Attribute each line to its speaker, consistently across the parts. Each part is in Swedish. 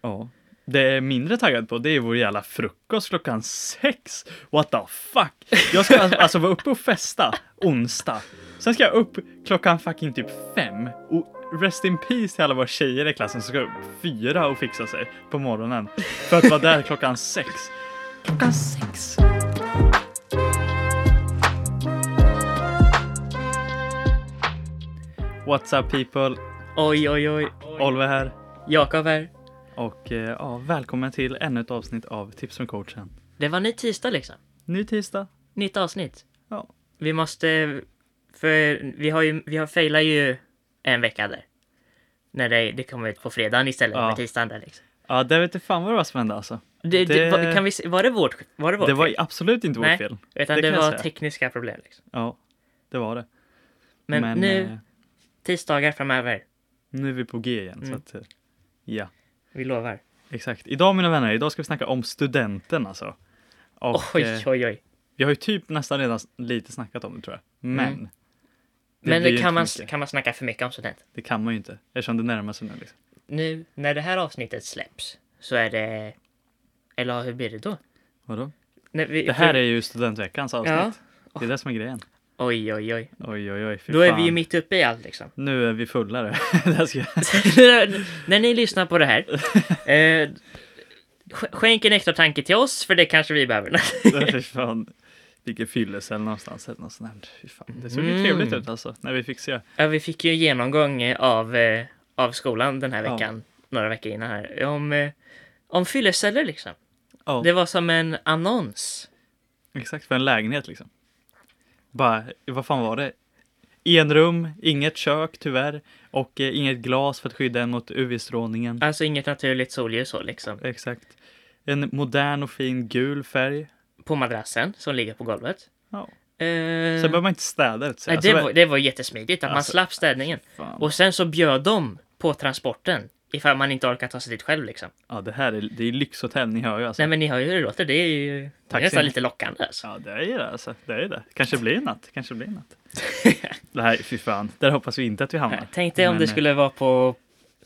Speaker 1: Ja. Det jag är mindre taggad på, det är vår jävla frukost klockan sex. What the fuck? Jag ska alltså- alltså vara uppe och festa onsdag. Sen ska jag upp klockan fucking typ fem. Och rest in peace till alla våra tjejer i klassen som ska upp fyra och fixa sig på morgonen. För att vara där klockan sex. Klockan sex. What's up people?
Speaker 2: Oj, oj, oj.
Speaker 1: Oliver här.
Speaker 2: Jakob här.
Speaker 1: Och eh, ja, välkommen till ännu ett avsnitt av Tips från coachen.
Speaker 2: Det var ny tisdag liksom.
Speaker 1: Ny tisdag.
Speaker 2: Nytt avsnitt.
Speaker 1: Ja.
Speaker 2: Vi måste... För vi har ju... Vi har failat ju en vecka där. När det, det kommer ut på fredagen istället
Speaker 1: Ja.
Speaker 2: för tisdagen där liksom.
Speaker 1: Ja, det vet inte fan vad det var som hände alltså.
Speaker 2: Det,
Speaker 1: Det-
Speaker 2: det... var- kan vi, se- var det vårt, var det vårt
Speaker 1: Det var
Speaker 2: fel?
Speaker 1: absolut inte vårt
Speaker 2: Nej,
Speaker 1: fel.
Speaker 2: Utan
Speaker 1: det
Speaker 2: det,
Speaker 1: kan jag
Speaker 2: var
Speaker 1: säga.
Speaker 2: tekniska problem liksom.
Speaker 1: Ja, det var det.
Speaker 2: Men, nu,
Speaker 1: eh,
Speaker 2: tisdagar framöver.
Speaker 1: nu är vi på G igen. Så
Speaker 2: Mm.
Speaker 1: att, eh, ja,
Speaker 2: Vi lovar.
Speaker 1: exakt. Idag mina vänner, idag ska vi snacka om studenten alltså. Och, eh,
Speaker 2: oj, oj, oj.
Speaker 1: Vi har ju typ nästan redan s- lite snackat om det tror jag. Men.
Speaker 2: Mm.
Speaker 1: det
Speaker 2: Men
Speaker 1: blir ju
Speaker 2: det kan,
Speaker 1: inte
Speaker 2: man,
Speaker 1: mycket.
Speaker 2: kan man snacka för mycket om studenten?
Speaker 1: Det kan man ju inte. Eftersom det närmar sig nu liksom.
Speaker 2: Nu, när det här avsnittet släpps, så är det... Eller hur blir det då?
Speaker 1: Vadå?
Speaker 2: När vi,
Speaker 1: Det här är ju studentveckans avsnitt.
Speaker 2: Ja.
Speaker 1: Det är det som är grejen.
Speaker 2: Oj, oj, oj.
Speaker 1: Oj, oj, oj. fy
Speaker 2: Då är
Speaker 1: fan.
Speaker 2: vi ju mitt uppe i allt liksom.
Speaker 1: Nu är vi fullare. Det här ska jag...
Speaker 2: När ni lyssnar på det här, eh, sk- skänk en extra tanke till oss, för det kanske vi behöver.
Speaker 1: Fy fan. Vilken fyllecell någonstans. Eller något sånt där. Fy fan. Det såg ju
Speaker 2: Mm.
Speaker 1: trevligt ut alltså. När vi fick se.
Speaker 2: ja, vi fick ju en genomgång eh, av, eh, av skolan den här
Speaker 1: Ja.
Speaker 2: veckan, några veckor innan här, om, eh, om fylleceller liksom.
Speaker 1: Ja.
Speaker 2: Det var som en annons.
Speaker 1: Exakt för en lägenhet liksom. Bara, vad fan var det? En rum, inget kök tyvärr. Och eh, inget glas för att skydda en mot UV-strålningen.
Speaker 2: Alltså inget naturligt solljus så liksom.
Speaker 1: Exakt. En modern och fin gul färg.
Speaker 2: På madrassen som ligger på golvet.
Speaker 1: Ja.
Speaker 2: Eh,
Speaker 1: Sen behöver man inte städa ut sig.
Speaker 2: nej,
Speaker 1: Alltså,
Speaker 2: det,
Speaker 1: vad-
Speaker 2: var, det var jättesmidigt att man
Speaker 1: Alltså,
Speaker 2: slapp städningen.
Speaker 1: fan.
Speaker 2: Och sen så bjöd de på transporten. Ifall man inte orkar ta sig dit själv liksom.
Speaker 1: Ja, det här är, det är lyxhotell, ni hör ju alltså.
Speaker 2: Nej men ni hör ju hur det låter, det är ju det är
Speaker 1: Taxin.
Speaker 2: nästan lite lockande alltså.
Speaker 1: Ja, det är ju det alltså. Det är ju det. Kanske blir en natt. Kanske blir en natt. det här, fy fan. Där hoppas vi inte att vi hamnar.
Speaker 2: Nej, Tänk dig om
Speaker 1: Men,
Speaker 2: det
Speaker 1: eh,
Speaker 2: skulle vara på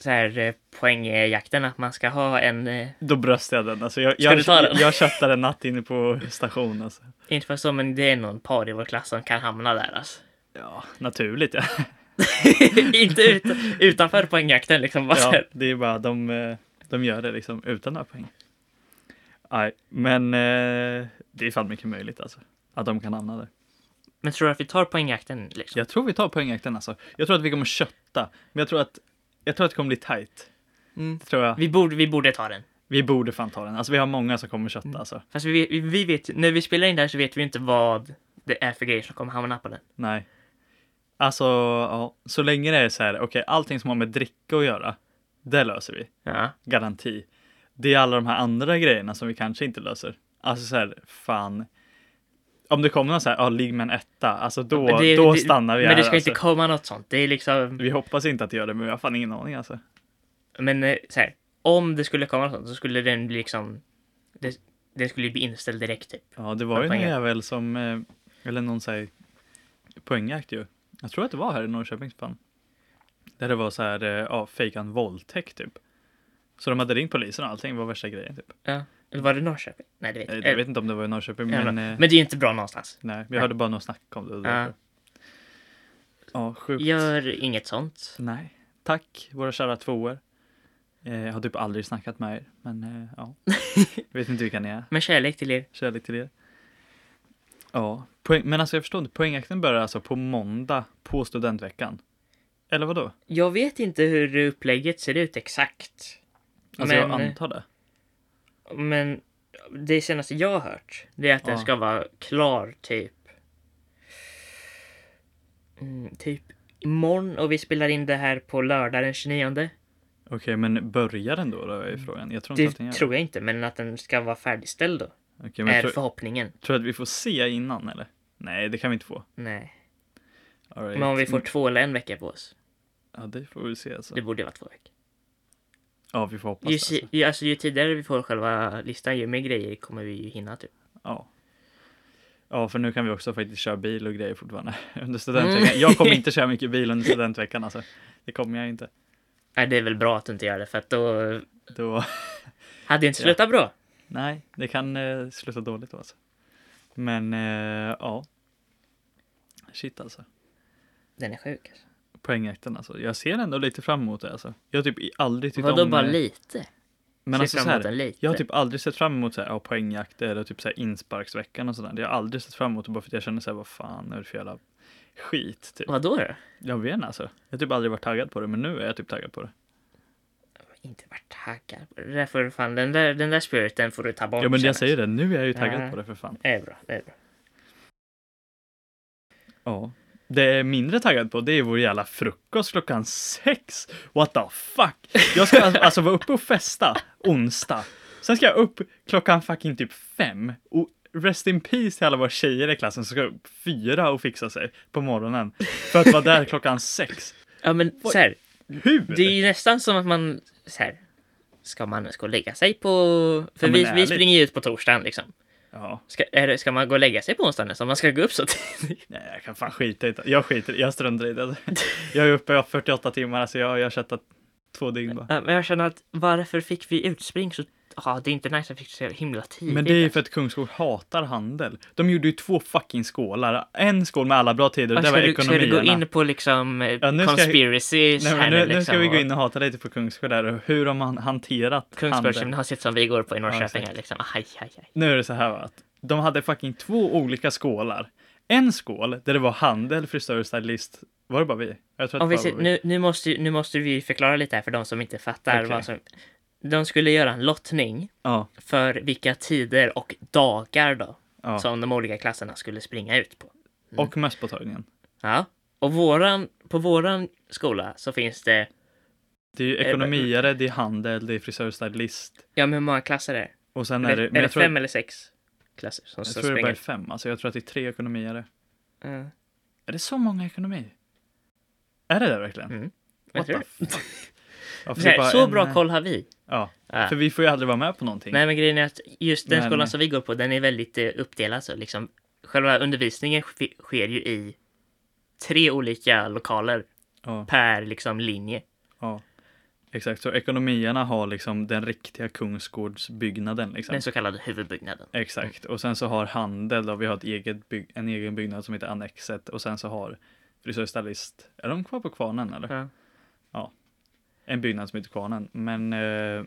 Speaker 2: så här, eh, poängjakten, att man ska ha en, eh,
Speaker 1: Då bröstar jag den. Alltså, jag,
Speaker 2: Ska
Speaker 1: jag,
Speaker 2: du ta den?
Speaker 1: jag köttar en natt inne på station. Alltså.
Speaker 2: inte för så men det är någon par i vår klass som kan hamna där alltså.
Speaker 1: Ja, naturligt ja.
Speaker 2: inte ut, utanför poängjakten liksom. Bara, så
Speaker 1: ja
Speaker 2: här.
Speaker 1: det är bara de, eh, de gör det liksom utan några poäng. Nej, men eh, det är fan mycket möjligt alltså. Att de kan hamna där.
Speaker 2: Men tror du att vi tar poängjakten liksom?
Speaker 1: Jag tror vi tar poängjakten alltså. Jag tror att vi kommer kötta. Men jag tror att, jag tror att det kommer bli tajt.
Speaker 2: Mm.
Speaker 1: Det tror jag.
Speaker 2: Vi, borde, vi borde ta den.
Speaker 1: Vi borde fan ta den. Alltså vi har många som kommer kötta alltså.
Speaker 2: Fast vi, vi- vi vet, när vi spelar in där så vet vi inte vad det är för grejer som kommer hamna på den.
Speaker 1: Nej. Alltså, ja. Så länge det är så här, okej, allting som har med dricka att göra, det löser vi.
Speaker 2: Ja.
Speaker 1: garanti. Det är alla de här andra grejerna som vi kanske inte löser. Alltså så här, fan. Om det kommer någon så här, ja, ligg med en etta, alltså då,
Speaker 2: Men det-
Speaker 1: då
Speaker 2: det-
Speaker 1: stannar vi
Speaker 2: Men
Speaker 1: här.
Speaker 2: det ska
Speaker 1: alltså.
Speaker 2: inte komma något sånt. Det är liksom...
Speaker 1: Vi hoppas inte att det gör det, men vi har fan ingen aning alltså.
Speaker 2: Men eh, så här, om det skulle komma något sånt så skulle den bli liksom... Det, den skulle ju bli inställd direkt typ.
Speaker 1: Ja, det var
Speaker 2: Men
Speaker 1: ju någon
Speaker 2: poängen.
Speaker 1: jävel som, eh, eller någon säger poängjakt ju. Jag tror att det var här i Norrköpings fan. Där det var så här, eh, ja, fejkan våldtäkt typ. Så de hade ringt polisen och allting, var värsta grejen typ.
Speaker 2: Ja. Eller var det Norrköping? Nej, det vet jag
Speaker 1: Eh,
Speaker 2: inte.
Speaker 1: Jag vet inte om det var i Norrköping,
Speaker 2: men,
Speaker 1: men, eh,
Speaker 2: men det är ju inte bra någonstans.
Speaker 1: nej, jag hörde bara någon snacka om det. och det var
Speaker 2: Ja.
Speaker 1: därför. Ja, sjukt.
Speaker 2: Gör inget sånt.
Speaker 1: Nej, tack våra kära tvåor. Eh, jag har typ aldrig snackat med er, men eh, ja. vet inte vilka ni är.
Speaker 2: Men kärlek till er.
Speaker 1: Kärlek till er. Ja, poäng, men alltså jag förstår inte. Poängjakten börjar alltså på måndag på studentveckan. Eller vad då?
Speaker 2: Jag vet inte hur upplägget ser ut exakt.
Speaker 1: Alltså
Speaker 2: men,
Speaker 1: jag antar det.
Speaker 2: men det senaste jag har hört det är att den
Speaker 1: Ja.
Speaker 2: ska vara klar typ... Mm, typ imorgon och vi spelar in det här på lördag den 29.
Speaker 1: Okej, men börjar den då? då är frågan. Jag tror inte
Speaker 2: Det
Speaker 1: att den gör
Speaker 2: tror jag inte, men att den ska vara färdigställd då.
Speaker 1: det. Okej, men
Speaker 2: är
Speaker 1: jag tror,
Speaker 2: förhoppningen.
Speaker 1: tror att vi får se innan eller? Nej, det kan vi inte få.
Speaker 2: Nej.
Speaker 1: All right.
Speaker 2: Men om vi får två eller en vecka på oss.
Speaker 1: Ja, det får vi se alltså.
Speaker 2: Det borde ju vara två veckor.
Speaker 1: Ja, vi får hoppas
Speaker 2: Ju,
Speaker 1: det. Alltså.
Speaker 2: si- ju, alltså, ju tidigare vi får själva listan, ju mer grejer kommer vi ju hinna typ.
Speaker 1: Ja. Ja, för nu kan vi också faktiskt köra bil och
Speaker 2: Mm.
Speaker 1: grejer fortfarande under studentveckan. Jag kommer inte köra mycket bil under studentveckan alltså. Det kommer jag inte.
Speaker 2: Nej, det är väl bra att du inte gör det för att då
Speaker 1: Då,
Speaker 2: hade det inte slutat bra.
Speaker 1: nej, det kan eh, sluta dåligt då alltså. Men eh, ja. Shit alltså.
Speaker 2: Den är sjuk. Alltså.
Speaker 1: Poängjakten alltså. Jag ser ändå lite fram emot det alltså. Jag har typ i- aldrig tyckt
Speaker 2: Vadå
Speaker 1: om...
Speaker 2: bara
Speaker 1: eh,
Speaker 2: lite?
Speaker 1: Men
Speaker 2: Se
Speaker 1: alltså
Speaker 2: fram
Speaker 1: så
Speaker 2: emot den
Speaker 1: här,
Speaker 2: lite.
Speaker 1: jag har typ aldrig sett fram emot så här, ja, poängjakter och typ så här insparksveckan och sådär. Det har jag aldrig sett fram emot bara för att jag känner så här, vad fan är det för jävla skit? Typ.
Speaker 2: Vadå då?
Speaker 1: Jag vet inte alltså. Jag har typ aldrig varit taggad på det, men nu är jag typ taggad på det.
Speaker 2: Inte varit taggad. på Det Det där får du fan, den där, den där spiriten får du ta bort.
Speaker 1: Ja men
Speaker 2: sen,
Speaker 1: jag säger
Speaker 2: alltså.
Speaker 1: det, nu är jag ju taggad
Speaker 2: Ja.
Speaker 1: på det för fan.
Speaker 2: det. är bra, det är bra.
Speaker 1: Ja. Det jag är mindre taggad på, det är vår jävla frukost klockan sex. What the fuck? Jag ska alltså- alltså vara uppe och festa onsdag. Sen ska jag upp klockan fucking typ fem. Och rest in peace till alla våra tjejer i klassen som ska upp fyra och fixa sig på morgonen. För att vara där klockan sex.
Speaker 2: Ja men så här,
Speaker 1: Hur?
Speaker 2: det är ju nästan som att man så här, ska man ens gå och lägga sig på... För
Speaker 1: Ja, men
Speaker 2: vi, vi
Speaker 1: ärligt.
Speaker 2: springer ju ut på torsdagen liksom.
Speaker 1: Ja.
Speaker 2: Ska, är det, ska man gå och lägga sig på onsdagen nästan? Man ska gå upp så tidigt?
Speaker 1: Nej, jag kan fan skita i det. Jag skiter jag struntar i det. Jag är uppe i 48 timmar, alltså jag jag har köttat två dygn bara.
Speaker 2: Ja, men jag känner att varför fick vi utspring så... Ja, det är inte nice att vi fick så himla tidigt.
Speaker 1: Men det är ju för att Kungskog hatar handel. De gjorde ju två fucking skålar. En skål med alla bra tider och
Speaker 2: Vad
Speaker 1: det
Speaker 2: Alltså, ska,
Speaker 1: var
Speaker 2: du, ska du gå
Speaker 1: ekonomierna.
Speaker 2: in på liksom
Speaker 1: Ja,
Speaker 2: ja,
Speaker 1: nu ska-
Speaker 2: conspiracies
Speaker 1: Nej,
Speaker 2: här
Speaker 1: men nu, nu
Speaker 2: liksom,
Speaker 1: ska vi
Speaker 2: och
Speaker 1: gå in och hata lite på Kungsgård där och hur de har hanterat handel.
Speaker 2: Kungsbergsgymnasiet som vi går på i Norrköping.
Speaker 1: exakt.
Speaker 2: här, liksom. aj, aj, aj.
Speaker 1: Nu är det så här va, att de hade fucking två olika skålar. En skål där det var handel, frisör och stylist. Var det bara vi? Jag tror att
Speaker 2: Om
Speaker 1: det
Speaker 2: vi
Speaker 1: bara
Speaker 2: ser,
Speaker 1: var vi.
Speaker 2: nu, nu, måste, nu måste vi förklara lite här för de som inte fattar.
Speaker 1: Okej.
Speaker 2: Vad som, de skulle göra en lottning
Speaker 1: Ja,
Speaker 2: för vilka tider och dagar då
Speaker 1: ja.
Speaker 2: som de olika klasserna skulle springa ut på.
Speaker 1: Och mösspåtagningen.
Speaker 2: Ja. Och våran, på våran skola så finns det,
Speaker 1: Det är
Speaker 2: Eh,
Speaker 1: ju ekonomiare, det är handel, det är frisör och stylist.
Speaker 2: ja men hur många klasser är det?
Speaker 1: Och sen
Speaker 2: Är
Speaker 1: är
Speaker 2: det,
Speaker 1: det...
Speaker 2: är
Speaker 1: Men
Speaker 2: det
Speaker 1: jag tror,
Speaker 2: fem eller sex klasser som,
Speaker 1: jag
Speaker 2: som
Speaker 1: tror det bara är
Speaker 2: springer?
Speaker 1: fem, alltså jag tror att det är tre ekonomiare.
Speaker 2: Mm.
Speaker 1: Är det så många ekonomi? Är det det verkligen?
Speaker 2: Mm.
Speaker 1: What
Speaker 2: Jag tror
Speaker 1: the
Speaker 2: det.
Speaker 1: fuck? Ja, för
Speaker 2: Så,
Speaker 1: det är bara
Speaker 2: här, så
Speaker 1: en,
Speaker 2: bra
Speaker 1: eh,
Speaker 2: koll har vi.
Speaker 1: Ja,
Speaker 2: Ja.
Speaker 1: för vi får ju aldrig vara med på någonting.
Speaker 2: Nej men grejen är att just den
Speaker 1: Men-
Speaker 2: skolan som vi går på den är väldigt eh, uppdelad så liksom. Själva undervisningen sk- sker ju i tre olika lokaler
Speaker 1: Ja,
Speaker 2: per liksom linje.
Speaker 1: ja. Exakt, så ekonomierna har liksom den riktiga kungsgårdsbyggnaden. Liksom.
Speaker 2: Den så kallade huvudbyggnaden.
Speaker 1: Exakt, och sen så har handel då, vi har ett eget bygg, en egen byggnad som heter Annexet och sen så har frisör och stylist, är de kvar på Kvarnen eller?
Speaker 2: Ja.
Speaker 1: En byggnad som heter Kvarnen, men eh,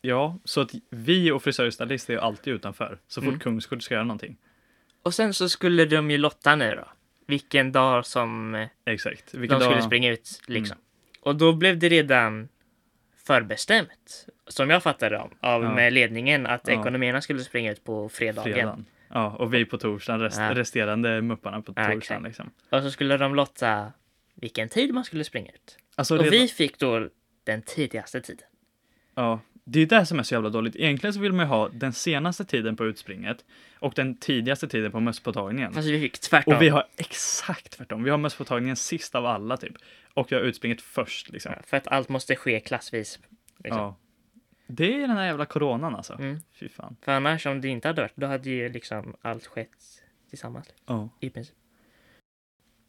Speaker 1: ja, så att vi och frisör och stylist är ju alltid utanför så fort
Speaker 2: Mm.
Speaker 1: Kungsgård ska göra någonting.
Speaker 2: Och sen så skulle de ju lotta nu då. Vilken dag som eh,
Speaker 1: Exakt. Vilken
Speaker 2: de skulle
Speaker 1: dag-
Speaker 2: springa ut
Speaker 1: Mm.
Speaker 2: liksom. Och då blev det redan förbestämt. Som jag fattade om, av
Speaker 1: Ja.
Speaker 2: med ledningen att
Speaker 1: Ja.
Speaker 2: ekonomerna skulle springa ut på fredagen.
Speaker 1: fredagen. Ja, och vi på torsdagen, rest,
Speaker 2: Ja.
Speaker 1: resterande mupparna på
Speaker 2: Ja,
Speaker 1: torsdagen
Speaker 2: exakt.
Speaker 1: liksom.
Speaker 2: Och så skulle de lotta vilken tid man skulle springa ut.
Speaker 1: Alltså,
Speaker 2: Och
Speaker 1: redan, Mm.
Speaker 2: vi fick då den tidigaste tiden.
Speaker 1: ja, det är det som är så jävla dåligt. Egentligen så vill man ju ha den senaste tiden på utspringet och den tidigaste tiden på mösspåtagningen.
Speaker 2: Fast vi fick tvärtom.
Speaker 1: Och vi har exakt tvärtom. Vi har mösspåtagningen sist av alla typ. Och jag har utspringet först liksom.
Speaker 2: För att allt måste ske klassvis. Liksom.
Speaker 1: Ja. Det är den här jävla coronan alltså.
Speaker 2: Mm.
Speaker 1: Fy fan.
Speaker 2: För annars om det inte hade varit, då hade ju liksom allt skett tillsammans.
Speaker 1: Ja.
Speaker 2: I princip.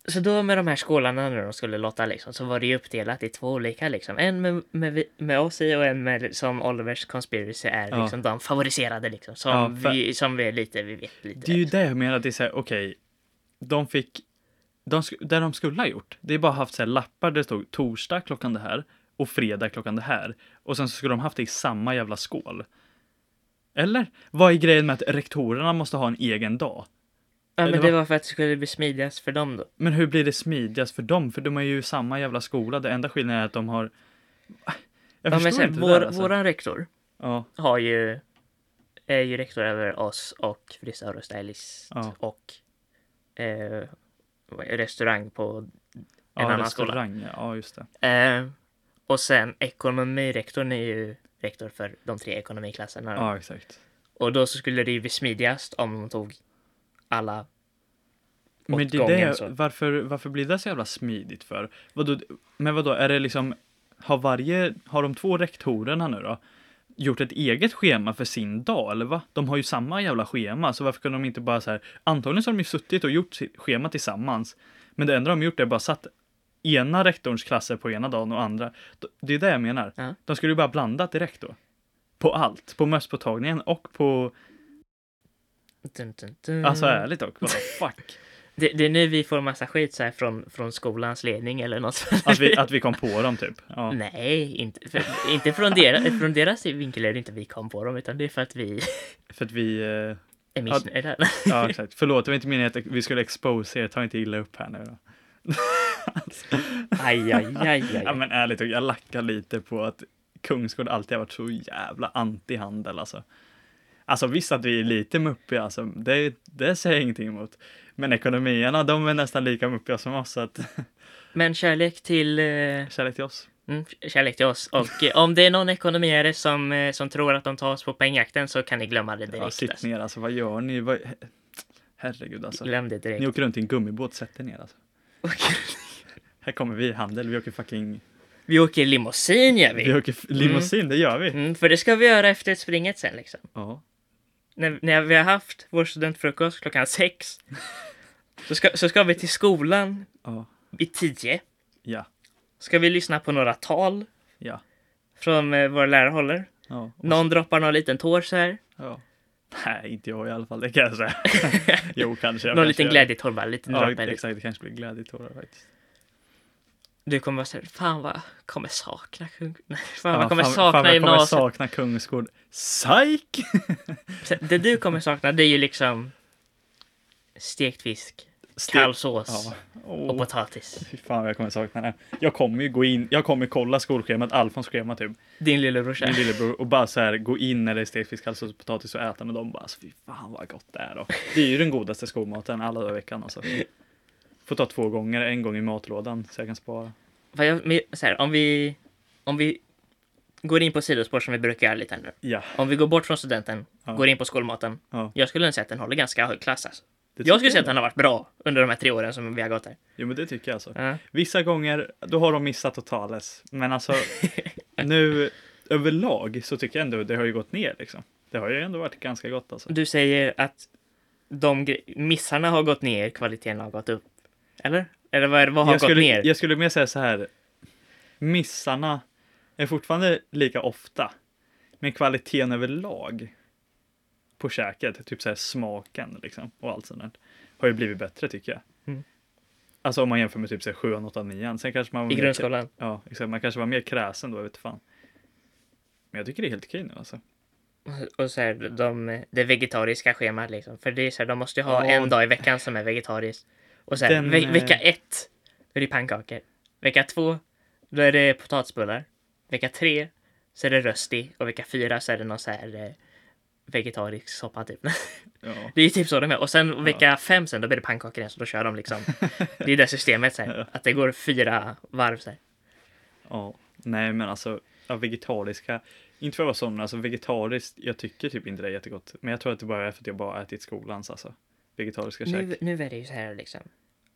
Speaker 2: Så då med de här skålarna när de skulle lotta liksom, så var det ju uppdelat i två olika liksom. En med, med, vi- med oss i och en med som Olivers Conspiracy är
Speaker 1: Ja.
Speaker 2: liksom de favoriserade liksom. Som,
Speaker 1: Ja, för-
Speaker 2: vi, som vi är lite, vi vet lite.
Speaker 1: Det är ju det jag menar, det är såhär, okej, de fick, de, sk- det de skulle ha gjort, det är bara haft såhär lappar där det stod torsdag klockan det här och fredag klockan det här. Och sen så skulle de haft det i samma jävla skål. Eller? Vad är grejen med att rektorerna måste ha en egen dag?
Speaker 2: ja,
Speaker 1: det
Speaker 2: men det
Speaker 1: var-
Speaker 2: var för att det skulle bli smidigast för dem då.
Speaker 1: Men hur blir det smidigast för dem? För de är ju i samma jävla skola, det enda skillnaden är att de har... Jag
Speaker 2: Ja,
Speaker 1: förstår
Speaker 2: men sen,
Speaker 1: inte
Speaker 2: vår,
Speaker 1: det där alltså.
Speaker 2: Våran rektor,
Speaker 1: Ja,
Speaker 2: har ju, är ju rektor över oss och frisör och stylist
Speaker 1: Ja.
Speaker 2: och eh, vad är- restaurang på
Speaker 1: ja,
Speaker 2: en annan skola.
Speaker 1: restaurang, ja, ja just det.
Speaker 2: Eh, och sen ekonomirektorn är ju rektor för de tre ekonomiklasserna. då.
Speaker 1: Ja, exakt.
Speaker 2: Och då så skulle det ju bli smidigast om de tog alla
Speaker 1: Men
Speaker 2: åt
Speaker 1: det
Speaker 2: gången.
Speaker 1: är det,
Speaker 2: så.
Speaker 1: varför, varför blir det så jävla smidigt för? Vadå, men vadå, är det liksom, har varje, har de två rektorerna nu då gjort ett eget schema för sin dag eller va? De har ju samma jävla schema, så varför kunde de inte bara så här, antagligen så har de ju suttit och gjort sitt schema tillsammans, men det enda de gjort är bara satt ena rektorns klasser på ena dagen och andra. D- Det är det jag menar.
Speaker 2: Ja.
Speaker 1: De skulle ju bara blandat direkt då. På allt. På mösspåtagningen och på...
Speaker 2: Dun, dun, dun.
Speaker 1: Alltså ärligt dock, what the fuck?
Speaker 2: det, det är nu vi får massa skit så här från, från skolans ledning eller något.
Speaker 1: Att vi, att vi kom på dem typ. Ja.
Speaker 2: Nej, inte, för, inte från, deras, från deras vinkel är det inte vi kom på dem, utan det är för att vi
Speaker 1: För att vi... eh,
Speaker 2: är missnöjda.
Speaker 1: Ja, exakt. Förlåt, det var inte meningen att vi skulle expose er. Ta inte illa upp här nu då.
Speaker 2: Aj, aj, aj,
Speaker 1: Ja,
Speaker 2: aj.
Speaker 1: men ärligt jag lackar lite på att Kungsgård alltid har varit så jävla anti-handel alltså. Alltså visst att vi är lite muppiga, alltså, det, det säger jag ingenting emot. Men ekonomierna, de är nästan lika muppiga som oss, så att
Speaker 2: Men kärlek till, eh,
Speaker 1: kärlek till oss.
Speaker 2: mm, kärlek till oss. Och eh, om det är någon ekonomiare som, eh, som tror att de tar oss på pengjakten så kan ni glömma det
Speaker 1: Ja,
Speaker 2: direkt.
Speaker 1: sitt
Speaker 2: Alltså.
Speaker 1: ner alltså, vad gör ni? Vad... Herregud alltså.
Speaker 2: Glöm det
Speaker 1: Ni
Speaker 2: direkt.
Speaker 1: åker runt i en gummibåt, sätt er ner alltså. Här kommer vi i handel, vi åker fucking,
Speaker 2: Vi åker limousin gör
Speaker 1: vi
Speaker 2: vi.
Speaker 1: åker f- limousin, det gör vi.
Speaker 2: Mm, för det ska vi göra efter springet sen liksom.
Speaker 1: Ja.
Speaker 2: När, när vi har haft vår studentfrukost klockan sex. Så ska, så ska vi till skolan
Speaker 1: Ja.
Speaker 2: vid tio.
Speaker 1: Ja.
Speaker 2: Ska vi lyssna på några tal
Speaker 1: Ja.
Speaker 2: från eh, våra lärare håller.
Speaker 1: Ja.
Speaker 2: Någon droppar någon liten tår så här.
Speaker 1: Ja. Nej, inte jag i alla fall, det kan jag säga. jo, kanske. jag kanske
Speaker 2: Någon liten
Speaker 1: gör.
Speaker 2: glädjetår bara. Liten
Speaker 1: Ja,
Speaker 2: droppe.
Speaker 1: exakt. Det kanske blir glädjetårar faktiskt.
Speaker 2: Du kommer vara såhär, fan vad kommer sakna kung... Nej, fan
Speaker 1: Ja,
Speaker 2: vad kommer
Speaker 1: fan-
Speaker 2: sakna
Speaker 1: fan, jag kommer
Speaker 2: gymnasiet.
Speaker 1: sakna Kungsgård. Psyk!
Speaker 2: Det du kommer sakna det är ju liksom stekt fisk, kall sås
Speaker 1: Ja. Oh.
Speaker 2: och
Speaker 1: Åh,
Speaker 2: potatis.
Speaker 1: fy fan vad jag kommer sakna det. Jag kommer ju gå in, jag kommer kolla skolschemat, Alfons schema typ,
Speaker 2: Din lillebrorsa.
Speaker 1: min lillebror och bara så här gå in när det är stekfisk, kallsås och potatis och äta med dem. Bara, alltså, fy fan vad gott det är då. Det är ju den godaste skolmaten alla dagar i veckan alltså. Får ta två gånger, en gång i matlådan så jag kan spara.
Speaker 2: För jag, men så här, om vi... Om vi går in på sidospår som vi brukar göra lite här nu.
Speaker 1: Ja,
Speaker 2: Om vi går bort från studenten,
Speaker 1: Ja.
Speaker 2: går in på skolmaten.
Speaker 1: Ja.
Speaker 2: Jag skulle nog säga att den håller ganska hög klass alltså.
Speaker 1: det
Speaker 2: Jag
Speaker 1: tycker
Speaker 2: skulle säga att den har varit bra under de här tre åren som vi har gått här.
Speaker 1: Jo men det tycker jag alltså.
Speaker 2: Ja.
Speaker 1: Vissa gånger, då har de missat totales. Men alltså, nu överlag så tycker jag ändå det har ju gått ner liksom. Det har ju ändå varit ganska gott alltså.
Speaker 2: Du säger att de gre- missarna har gått ner, kvaliteten har gått upp. Eller? Eller vad, är det- vad har
Speaker 1: jag,
Speaker 2: gått
Speaker 1: skulle,
Speaker 2: ner?
Speaker 1: jag skulle mer säga så här. Missarna är fortfarande lika ofta. Men kvaliteten överlag på käket, typ så här smaken liksom och allt sånt där, har ju blivit bättre tycker jag.
Speaker 2: Mm.
Speaker 1: Alltså om man jämför med typ så här 7, 8, 9. Sen kanske man var
Speaker 2: I
Speaker 1: mer-
Speaker 2: grundskolan?
Speaker 1: Ja, exakt. Man kanske var mer kräsen då, jag vet inte fan. Men jag tycker det är helt okej nu alltså.
Speaker 2: Och så här, de, det vegetariska schemat liksom. För det är så här, de måste ju ha
Speaker 1: Ja.
Speaker 2: en dag i veckan som är vegetariskt. Och så här,
Speaker 1: Den,
Speaker 2: ve- vecka
Speaker 1: eh,
Speaker 2: ett, då är det pannkakor. Vecka två, då är det potatisbullar. Vecka tre, så är det rösti. Och vecka fyra så är det någon så här eh, vegetarisk soppa typ.
Speaker 1: Ja.
Speaker 2: Det är ju typ så de är. Och sen vecka fem sen, då blir det pannkakor igen. Så då kör de liksom. Det är det systemet så här, Att det går fyra varv så här.
Speaker 1: ja. Nej, men alltså ja, vegetariska. Inte för att vara sån, men alltså vegetariskt. Jag tycker typ inte det är jättegott. Men jag tror att det bara är för att jag bara ätit skolans alltså. Vegetariska käk.
Speaker 2: Nu, nu är det ju så här liksom.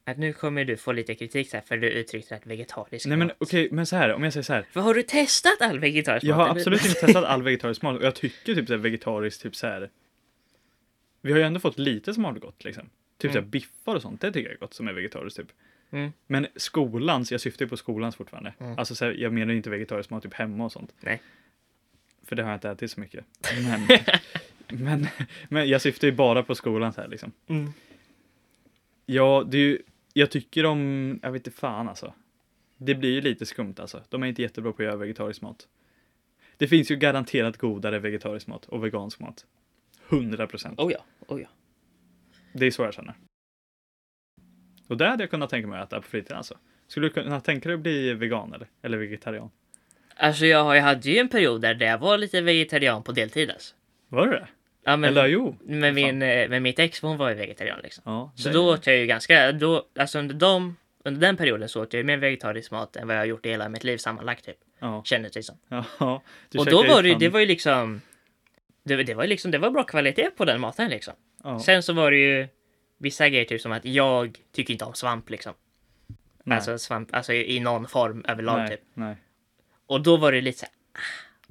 Speaker 2: Att nu kommer du få lite kritik så här för du uttryckte att vegetarisk
Speaker 1: Nej men
Speaker 2: mat-
Speaker 1: okej, men så här om jag säger så här.
Speaker 2: För har du testat all vegetarisk
Speaker 1: Jag
Speaker 2: mat?
Speaker 1: har absolut inte testat all vegetarisk mat och jag tycker typ så här vegetariskt, typ så här. Vi har ju ändå fått lite som har gått liksom. Typ så här biffar och sånt, det tycker jag är gott som är vegetariskt typ.
Speaker 2: Mm.
Speaker 1: Men skolans, jag syftar ju på skolans fortfarande.
Speaker 2: Mm.
Speaker 1: Alltså så här, jag menar ju inte vegetarisk mat typ hemma och sånt.
Speaker 2: Nej.
Speaker 1: För det har jag inte ätit så mycket. Men, men, men jag syftar ju bara på skolan så här liksom.
Speaker 2: Mm.
Speaker 1: Ja, det är ju, jag tycker om, jag vet inte fan alltså. Det blir ju lite skumt alltså. De är inte jättebra på att göra vegetarisk mat. Det finns ju garanterat godare vegetarisk mat och vegansk mat. 100 procent.
Speaker 2: Oh ja, oh ja.
Speaker 1: Det är så jag känner. Och det hade jag kunnat tänka mig att äta på fritiden alltså. Skulle du kunna tänka dig att bli vegan eller, eller vegetarian?
Speaker 2: Alltså jag, har- jag hade ju en period där jag var lite vegetarian på deltid alltså.
Speaker 1: Var du det?
Speaker 2: Ja, men,
Speaker 1: eller jo.
Speaker 2: men,
Speaker 1: fan.
Speaker 2: min, eh, men mitt ex hon var ju vegetarian liksom.
Speaker 1: Ja,
Speaker 2: Så
Speaker 1: det-
Speaker 2: då åt jag ju ganska, då, alltså under, de, under den perioden så åt jag ju mer vegetarisk mat än vad jag har gjort i hela mitt liv sammanlagt typ.
Speaker 1: Ja.
Speaker 2: Kändes det som.
Speaker 1: ja du
Speaker 2: Och
Speaker 1: käkar
Speaker 2: då
Speaker 1: ju
Speaker 2: var det ju,
Speaker 1: fan-
Speaker 2: det var ju liksom, det, det var ju liksom, det var bra kvalitet på den maten liksom.
Speaker 1: ja.
Speaker 2: Sen så var det ju vissa grejer, typ som att jag tycker inte om svamp liksom.
Speaker 1: Nej.
Speaker 2: Alltså svamp, alltså i i någon form överlag
Speaker 1: nej,
Speaker 2: typ.
Speaker 1: Nej.
Speaker 2: Och då var det lite så här,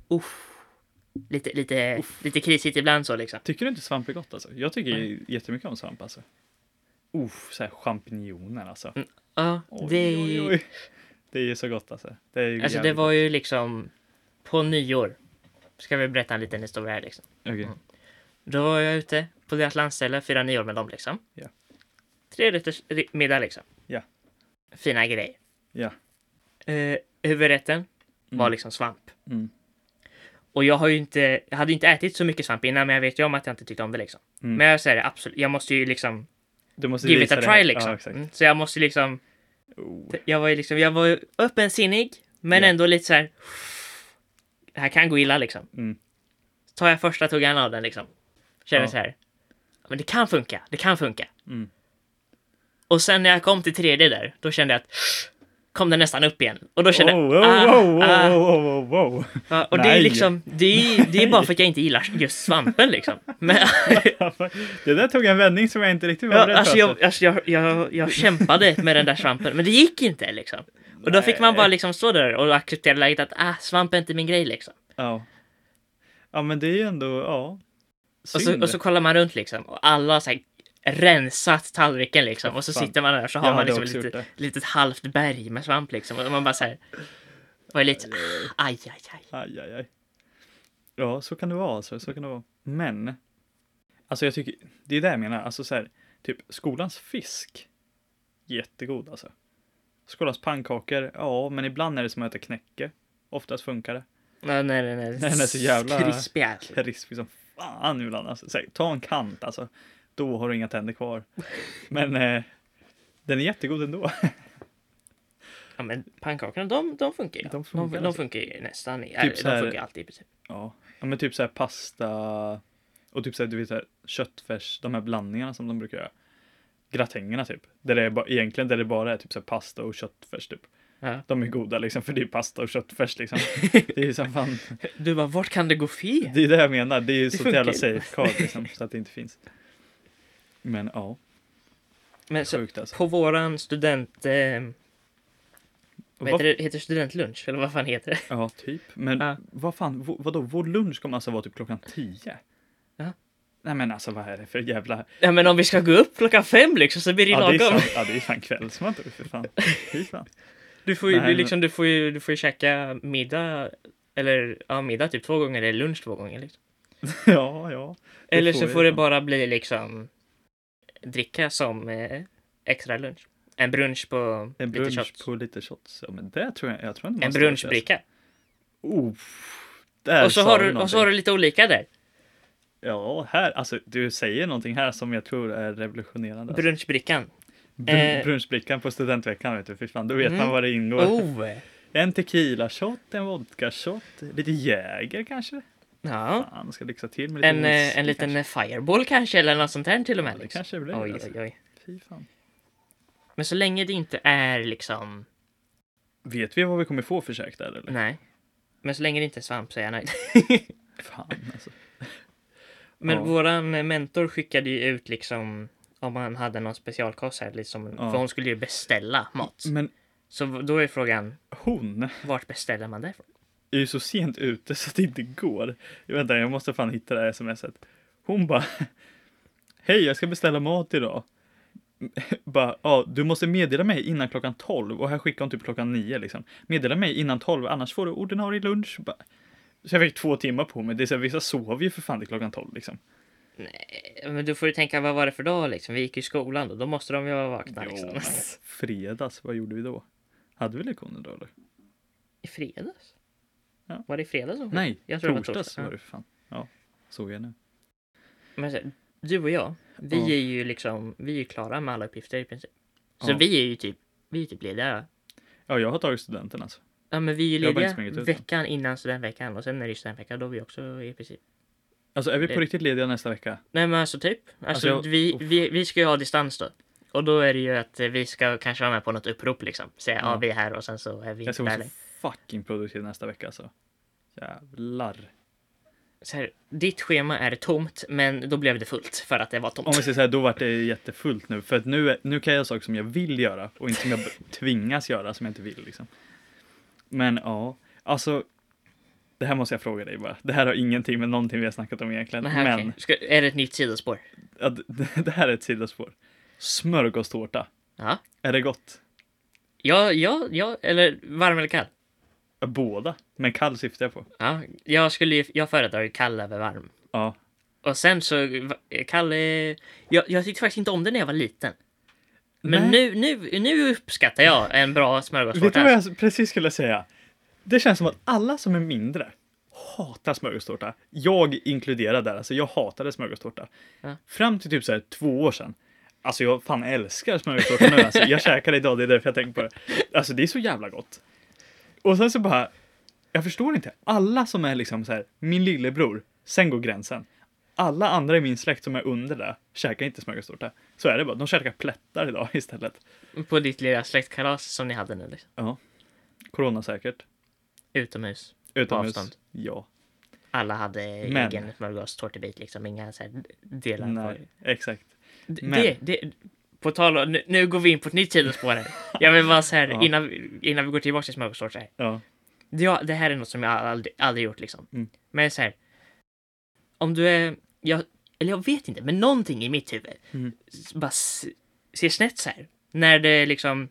Speaker 2: ah, uff. Lite, lite, lite krisigt ibland så liksom.
Speaker 1: Tycker du inte svamp
Speaker 2: Mm.
Speaker 1: är gott alltså? Jag tycker jättemycket om svamp alltså. Uff, så här champinjoner alltså.
Speaker 2: Ja,
Speaker 1: Oj,
Speaker 2: Mm, det,
Speaker 1: oj, oj. Det är ju så gott alltså. Det är ju
Speaker 2: Alltså det
Speaker 1: jävligt
Speaker 2: var ju liksom på nyår. Ska vi berätta en liten historia här liksom.
Speaker 1: gott. Okej.
Speaker 2: Då var jag ute på deras landställe, firade nyår med dem liksom.
Speaker 1: Ja.
Speaker 2: Tre rätters ri- middag liksom.
Speaker 1: Ja.
Speaker 2: Fina grejer.
Speaker 1: Ja.
Speaker 2: Eh, huvudrätten var
Speaker 1: Mm.
Speaker 2: liksom svamp.
Speaker 1: Mm.
Speaker 2: Och jag har ju inte, jag hade ju inte ätit så mycket svamp innan men jag vet ju om att jag inte tyckte om det liksom.
Speaker 1: Mm.
Speaker 2: Men jag säger det absolut, jag måste ju liksom
Speaker 1: Du måste
Speaker 2: give it
Speaker 1: visa
Speaker 2: a
Speaker 1: det
Speaker 2: try
Speaker 1: här.
Speaker 2: liksom.
Speaker 1: Ja, exakt.
Speaker 2: Mm, så jag måste ju liksom,
Speaker 1: Oh.
Speaker 2: jag var ju liksom, jag var ju öppensinnig men
Speaker 1: Ja.
Speaker 2: ändå lite så här. Det här kan gå illa liksom.
Speaker 1: Mm.
Speaker 2: Tar jag första tuggan av den liksom. Känner
Speaker 1: Ja.
Speaker 2: så här. Men det kan funka, det kan funka.
Speaker 1: Mm.
Speaker 2: Och sen när jag kom till tredje där, då kände jag att kom den nästan upp igen. Och då kände
Speaker 1: oh, oh,
Speaker 2: jag, ah,
Speaker 1: wow, wow,
Speaker 2: ah,
Speaker 1: wow, wow, wow.
Speaker 2: Ja, och det är
Speaker 1: Nej.
Speaker 2: liksom, det är, det är bara för att jag inte gillar just svampen liksom. Men,
Speaker 1: Det där tog en vändning som jag inte riktigt var
Speaker 2: ja,
Speaker 1: beredd
Speaker 2: alltså
Speaker 1: på.
Speaker 2: jag, alltså jag, jag, jag kämpade med den där svampen, men det gick inte liksom. Och då fick
Speaker 1: Eh,
Speaker 2: man bara liksom stå där och acceptera läget att ah, svamp är inte min grej liksom.
Speaker 1: Ja. ja, men det är ju ändå, ja.
Speaker 2: Och
Speaker 1: Synd.
Speaker 2: så, Alltså, och så kollar man runt liksom och alla har så här rensat tallriken liksom och så
Speaker 1: Fan.
Speaker 2: sitter man där så
Speaker 1: Jag
Speaker 2: har man
Speaker 1: hade
Speaker 2: liksom
Speaker 1: också gjort
Speaker 2: lite, litet halvt berg med svamp liksom och man bara så här var lite ah, aj aj aj.
Speaker 1: Aj, aj, aj. Ja, så kan det vara alltså. Så kan det vara. Men, alltså jag tycker, det är det jag menar. Alltså så här, typ skolans fisk. Jättegod alltså. Skolans pannkakor, ja, men ibland är det som att äta knäcke. Oftast funkar det.
Speaker 2: Nej nej nej. nej.
Speaker 1: Den är så jävla-
Speaker 2: Krispig alltså.
Speaker 1: Krispig som fan ibland alltså. Så här, ta en kant alltså. Då har du inga tänder kvar. Men eh, den är jättegod ändå.
Speaker 2: Ja men pannkakorna de, de funkar ju.
Speaker 1: De
Speaker 2: De
Speaker 1: funkar
Speaker 2: funkar, de,
Speaker 1: alltså.
Speaker 2: funkar ju nästan. Typ
Speaker 1: så här-
Speaker 2: de funkar ju alltid i princip.
Speaker 1: Ja, ja men typ så här pasta och typ så här, du vet så här, köttfärs, de här blandningarna som de brukar göra. Gratängerna typ. Där det är ba- egentligen där det bara är typ så här pasta och köttfärs typ.
Speaker 2: Ja.
Speaker 1: De är goda liksom för det är pasta och köttfärs liksom. Det är ju som fan,
Speaker 2: Du bara, vart kan det gå fel?
Speaker 1: det är det jag menar. Det är ju så
Speaker 2: funkar
Speaker 1: jävla
Speaker 2: ju.
Speaker 1: safe card liksom så att det inte finns. Men ja,
Speaker 2: Men så,
Speaker 1: sjukt alltså.
Speaker 2: på våran student... Eh, vad
Speaker 1: Vad-
Speaker 2: heter, det, heter det studentlunch? Eller vad fan heter det?
Speaker 1: Ja, typ. Men
Speaker 2: Ja.
Speaker 1: vad fan, v- vadå, vår lunch kommer alltså vara typ klockan tio?
Speaker 2: Ja.
Speaker 1: Nej men alltså vad är det för jävla...
Speaker 2: Ja men om vi ska gå upp klockan fem liksom så blir det
Speaker 1: Ja det är,
Speaker 2: lagom.
Speaker 1: sant. ja det är fan kvällsmat då, för fan. Fy fan.
Speaker 2: Du får ju,
Speaker 1: Nej,
Speaker 2: du
Speaker 1: men-
Speaker 2: liksom, du får ju, du får ju käka middag, eller ja, middag typ två gånger eller lunch två gånger. Liksom.
Speaker 1: Ja, ja. Det
Speaker 2: Eller
Speaker 1: får
Speaker 2: så
Speaker 1: vi,
Speaker 2: får det
Speaker 1: ja.
Speaker 2: bara bli liksom dricka som eh, extra lunch. En brunch på
Speaker 1: En
Speaker 2: lite
Speaker 1: brunch
Speaker 2: shots.
Speaker 1: på lite shots. Ja, men det tror jag. Jag tror inte
Speaker 2: en
Speaker 1: man står för det.
Speaker 2: brunchbricka.
Speaker 1: Oh, där
Speaker 2: Och så,
Speaker 1: sa
Speaker 2: har
Speaker 1: du
Speaker 2: du, och så har du
Speaker 1: någonting.
Speaker 2: lite olika där.
Speaker 1: Ja, här. Alltså, du säger någonting här som jag tror är revolutionerande. Brun...
Speaker 2: Brunchbrickan. eh.
Speaker 1: Brunchbrickan på studentveckan, vet du. Fy fan, då vet man
Speaker 2: Mm.
Speaker 1: vad det ingår.
Speaker 2: Oh!
Speaker 1: En tequila shot, en vodka shot, lite jäger kanske.
Speaker 2: Ja.
Speaker 1: Fan, ska lyxa till med lite
Speaker 2: En, eh,
Speaker 1: whisky
Speaker 2: en liten
Speaker 1: kanske.
Speaker 2: fireball kanske eller något sånt här till och
Speaker 1: Ja,
Speaker 2: med.
Speaker 1: det
Speaker 2: liksom.
Speaker 1: kanske blir
Speaker 2: oj,
Speaker 1: alltså.
Speaker 2: oj, oj.
Speaker 1: Fy fan.
Speaker 2: Men så länge det inte är liksom,
Speaker 1: Vet vi vad vi kommer få för käk där eller?
Speaker 2: nej. Men så länge det inte är svamp så är jag nöjd.
Speaker 1: Fan alltså.
Speaker 2: Men
Speaker 1: Ja.
Speaker 2: våran mentor skickade ju ut liksom om man hade någon specialkost här liksom.
Speaker 1: Ja. Mm.
Speaker 2: För hon skulle ju beställa mat.
Speaker 1: Men
Speaker 2: Så då är frågan,
Speaker 1: hon
Speaker 2: vart beställer man det ifrån?
Speaker 1: är ju så sent ute så att det inte går. Jag väntar, jag måste fan hitta det här smset. Hon bara Hej, jag ska beställa mat idag. Bara, ja, du måste meddela mig innan klockan 12 och här skickar hon typ klockan 9 liksom. Meddela mig innan 12 annars får du ordinarie lunch. Bara, så jag fick två timmar på mig. Det är så här, vissa sover ju för fan till klockan 12 liksom.
Speaker 2: Eh, Men då får du tänka, vad var det för dag liksom? Vi gick ju i skolan då, då måste de ju vara vakna
Speaker 1: Jo,
Speaker 2: liksom.
Speaker 1: men fredags, vad gjorde vi då? Hade vi lektioner då
Speaker 2: Mm.
Speaker 1: eller?
Speaker 2: I fredags?
Speaker 1: Ja.
Speaker 2: Var det i fredags som
Speaker 1: Nej,
Speaker 2: jag tror det var
Speaker 1: torsdags
Speaker 2: torsdag.
Speaker 1: var det för fan. Ja, såg jag nu.
Speaker 2: Men så, du och jag, vi
Speaker 1: Ja.
Speaker 2: är ju liksom, vi är ju klara med alla uppgifter i princip. Så
Speaker 1: Ja.
Speaker 2: vi är ju typ, vi är typ lediga.
Speaker 1: Ja, jag har tagit studenten alltså.
Speaker 2: Ja men vi är ju
Speaker 1: Jag har bara inte sprungit
Speaker 2: lediga
Speaker 1: ut än.
Speaker 2: veckan innan studentveckan och sen är det ju studentveckan, då är vi också i princip
Speaker 1: Alltså är vi på
Speaker 2: Det-
Speaker 1: riktigt lediga nästa vecka?
Speaker 2: Nej men alltså typ. Alltså,
Speaker 1: Alltså, jag-
Speaker 2: vi,
Speaker 1: uff.
Speaker 2: vi, vi ska ju ha distans då. Och då är det ju att eh, vi ska kanske vara med på något upprop liksom. Säga ja
Speaker 1: Ja.
Speaker 2: vi är här och sen så är vi
Speaker 1: Mm. Jag
Speaker 2: inte
Speaker 1: ska vara
Speaker 2: där
Speaker 1: så
Speaker 2: längre.
Speaker 1: fucking produktiv nästa vecka alltså. Jävlar.
Speaker 2: så här, Ditt schema är tomt men då blev det fullt för att det var tomt.
Speaker 1: Om vi säger såhär, då vart det jättefullt nu. För att nu, är- nu kan jag göra saker som jag vill göra och inte som jag b- tvingas göra som jag inte vill liksom. Men ja, alltså. Det här måste jag fråga dig bara. Det här har ingenting med någonting vi har snackat om egentligen.
Speaker 2: Men, här,
Speaker 1: Men
Speaker 2: okej. ska, är det ett nytt sidospår?
Speaker 1: ja, d- det här är ett sidospår. Smörgåstårta.
Speaker 2: Ja.
Speaker 1: Är det gott?
Speaker 2: Ja, ja, ja, eller varm eller kall.
Speaker 1: Båda. Men kall syftar jag på.
Speaker 2: Ja, jag, skulle ju, jag föredrar ju kall över varm.
Speaker 1: Ja.
Speaker 2: Och sen så, va- kall är... Jag, jag tyckte faktiskt inte om det när jag var liten. Men
Speaker 1: Nej.
Speaker 2: nu, nu, nu uppskattar jag en bra
Speaker 1: Vet du vad
Speaker 2: smörgåstårta.
Speaker 1: jag precis skulle säga? Det känns som att alla som är mindre hatar smörgåstårta. Jag inkluderad där, alltså jag hatade smörgåstårta.
Speaker 2: Ja.
Speaker 1: Fram till typ så här två år sedan. Alltså jag fan älskar smörgåstårta nu alltså. Jag käkar det idag, det är därför jag tänker på det. Alltså det är så jävla gott. Och sen så bara, jag förstår inte. Alla som är liksom så här, min lillebror, sen går gränsen. Alla andra i min släkt som är under det käkar inte smörgåstårta. Så är det bara, de käkar plättar idag istället.
Speaker 2: På ditt lilla släktkalas som ni hade nu. Liksom.
Speaker 1: Ja, coronasäkert.
Speaker 2: Utomhus.
Speaker 1: Utomhus.
Speaker 2: avstånd.
Speaker 1: Ja.
Speaker 2: Alla hade
Speaker 1: Men-
Speaker 2: egen smörgåstårtebit liksom. Inga så här delar. på-
Speaker 1: Nej, exakt.
Speaker 2: D-
Speaker 1: Men-
Speaker 2: Det, det, på tal om, nu, nu går vi in på ett nytt sidospår här. Jag vill bara säga här, innan, vi- innan vi går tillbaka till smörgåstårta. här.
Speaker 1: Ja.
Speaker 2: Det, ja, det här är något som jag aldrig, aldrig gjort liksom.
Speaker 1: Mm.
Speaker 2: Men så här. Om du är, jag, eller jag vet inte, men någonting i mitt huvud
Speaker 1: Mm.
Speaker 2: s- bara s- ser snett så här. När det liksom,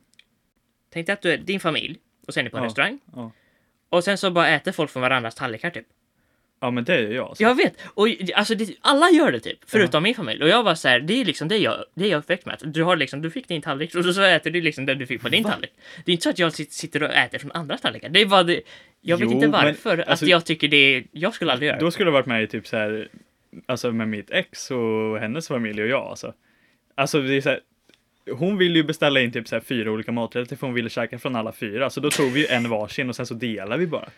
Speaker 2: tänk dig att du är din familj och sen är ni på en
Speaker 1: Ja,
Speaker 2: restaurang.
Speaker 1: ja.
Speaker 2: Och sen så bara äter folk från varandras tallrikar typ.
Speaker 1: ja, men det är jag. Alltså.
Speaker 2: Jag vet! Och alltså, det, alla gör det typ, förutom min familj. Och jag bara så här, det är liksom det jag, det jag är uppväxt med. Att Du, har liksom, du fick din tallrik och så äter du liksom det du fick på din tallrik. Det är inte så att jag sit- sitter och äter från andra tallrikar. Det är bara det, jag vet
Speaker 1: Jo,
Speaker 2: inte
Speaker 1: men,
Speaker 2: varför
Speaker 1: alltså-
Speaker 2: att jag tycker det är, jag skulle aldrig göra det.
Speaker 1: Då skulle jag varit med i typ så här, alltså med mitt ex och hennes familj och jag alltså. Alltså det är så här, hon ville ju beställa in typ så här fyra olika maträtter för hon ville käka från alla fyra. Så då tog vi ju en varsin och sen så delade vi bara.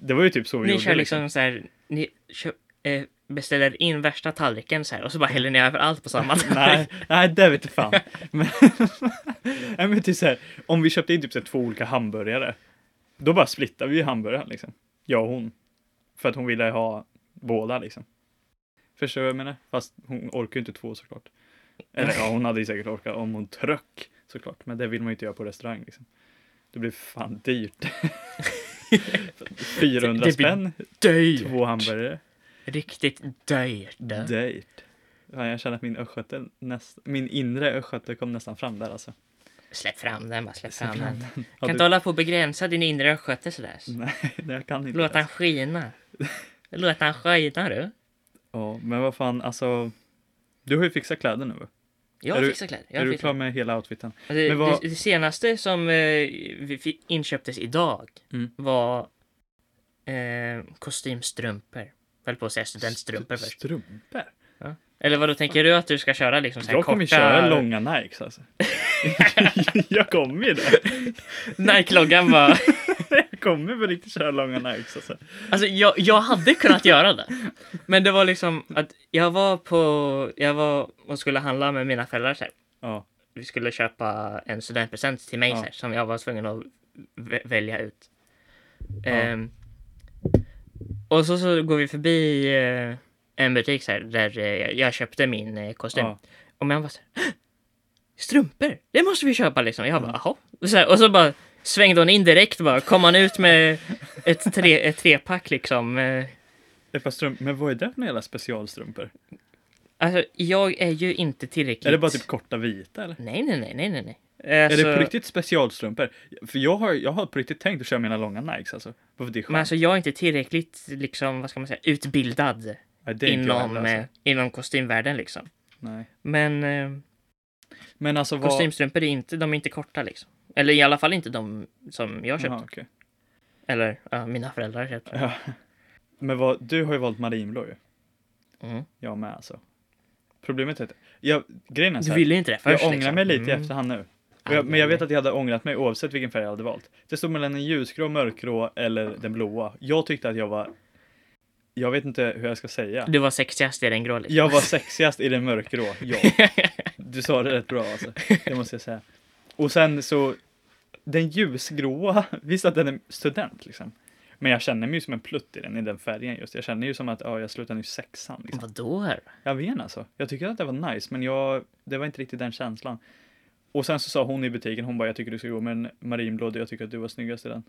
Speaker 1: Det var ju typ så vi
Speaker 2: Ni
Speaker 1: gjorde.
Speaker 2: kör liksom så här, ni kö, eh, beställer in värsta tallriken så här och så bara häller ni över allt på samma tallrik.
Speaker 1: Nej, nej, det vet jag fan. Men, nej, men typ så här, om vi köpte in typ så här två olika hamburgare, då bara splittade vi ju hamburgaren liksom. Jag och hon. För att hon ville ha båda liksom. Förstår du vad jag menar? Fast hon orkar ju inte två såklart. Eller ja, hon hade ju säkert orkat om hon tröck såklart. Men det vill man ju inte göra på restaurang liksom. Det blir fan dyrt. 400
Speaker 2: Det- det blir
Speaker 1: spänn,
Speaker 2: Dyrt!
Speaker 1: två hamburgare.
Speaker 2: Riktigt dyrt.
Speaker 1: Dyrt. Fan, jag känner att min östgöte, näst, min inre östgöte kom nästan fram där alltså.
Speaker 2: Släpp fram den bara, släpp
Speaker 1: Släpp
Speaker 2: fram
Speaker 1: fram
Speaker 2: den.
Speaker 1: Ja,
Speaker 2: Kan inte
Speaker 1: du-
Speaker 2: hålla på att begränsa din inre östgöte sådär.
Speaker 1: Nej, det- jag kan inte.
Speaker 2: Låt
Speaker 1: det.
Speaker 2: han skina. Låt han skina du.
Speaker 1: Ja, men vad fan, alltså. Du har ju fixat kläder nu. va? Är
Speaker 2: Jag
Speaker 1: du-
Speaker 2: fixar kläder. Jag
Speaker 1: är du
Speaker 2: fixar.
Speaker 1: klar med hela outfiten?
Speaker 2: Alltså,
Speaker 1: Men vad-
Speaker 2: det, det senaste som eh, vi fi- inköptes idag
Speaker 1: Mm.
Speaker 2: var eh, kostymstrumpor. Höll på att säga studentstrumpor
Speaker 1: St-
Speaker 2: först.
Speaker 1: Strumpor?
Speaker 2: Eller vad då tänker du att du ska köra liksom så här
Speaker 1: Jag kommer ju
Speaker 2: korta...
Speaker 1: köra långa Nikes alltså. jag kommer ju det.
Speaker 2: Nike-loggan var...
Speaker 1: Jag kommer på riktigt köra långa Nikes alltså.
Speaker 2: Alltså jag, jag hade kunnat göra det. Men det var liksom att jag var på... Jag var och skulle handla med mina föräldrar så här.
Speaker 1: Ja,
Speaker 2: vi skulle köpa en studentpresent till mig
Speaker 1: Ja.
Speaker 2: så här, som jag var tvungen att vä- välja ut. Ehm, och så, så går vi förbi eh, en butik så här, där eh, jag- jag köpte min eh, kostym.
Speaker 1: Ja.
Speaker 2: Och man bara så här, "Hå! strumpor, det måste vi köpa liksom. Jag
Speaker 1: Mm.
Speaker 2: bara, jaha. Och Så här, och så bara svängde hon in direkt bara, kom han ut med ett, tre, ett trepack liksom. eh,
Speaker 1: ett par strumpor. Men vad är det för jävla specialstrumpor?
Speaker 2: Alltså, jag är ju inte tillräckligt...
Speaker 1: Är det bara typ korta vita eller?
Speaker 2: Nej, nej, nej, nej, nej, nej.
Speaker 1: Är det
Speaker 2: Alltså-
Speaker 1: på riktigt specialstrumpor? För jag har, jag har på riktigt tänkt att köra mina långa Nikes alltså. Varför det är
Speaker 2: Men
Speaker 1: skönt?
Speaker 2: alltså jag är inte tillräckligt, liksom, vad ska man säga, utbildad
Speaker 1: Nej, det är inte jag
Speaker 2: inom,
Speaker 1: heller, alltså.
Speaker 2: eh, inom kostymvärlden liksom.
Speaker 1: Nej.
Speaker 2: Men eh,
Speaker 1: Men alltså vad...
Speaker 2: kostymstrumpor är inte, de är inte korta liksom. Eller i alla fall inte de som jag köpte.
Speaker 1: Jaha, okej.
Speaker 2: Eller ja, mina föräldrar köpte.
Speaker 1: Ja. Men vad, du har ju valt marinblå ju.
Speaker 2: Mm.
Speaker 1: Jag med alltså. Problemet är att, jag, grejen är så
Speaker 2: Du
Speaker 1: här,
Speaker 2: ville ju inte det
Speaker 1: jag
Speaker 2: först.
Speaker 1: ångrar
Speaker 2: liksom.
Speaker 1: mig lite i
Speaker 2: Mm.
Speaker 1: efterhand nu. Och
Speaker 2: Aj,
Speaker 1: jag, men jag
Speaker 2: aj,
Speaker 1: vet att jag hade ångrat mig oavsett vilken färg jag hade valt. Det stod mellan den ljusgrå, mörkgrå eller den blåa. Jag tyckte att jag var, jag vet inte hur jag ska säga.
Speaker 2: Du var sexigast i den grå liksom.
Speaker 1: Jag var sexigast i den mörkgrå, ja. Du sa det rätt bra alltså, det måste jag säga. Och sen så, den ljusgråa, visst att den är student liksom. Men jag känner mig ju som en plutt i den, i den färgen just. Jag känner ju som att, ja, jag slutar nu i sexan liksom.
Speaker 2: Vadå? här?
Speaker 1: Jag vet inte, alltså. Jag tycker att det var nice, men jag, det var inte riktigt den känslan. Och sen så sa hon i butiken, hon bara, jag tycker du ska gå med en marinblå, jag tycker att du var snyggast i den.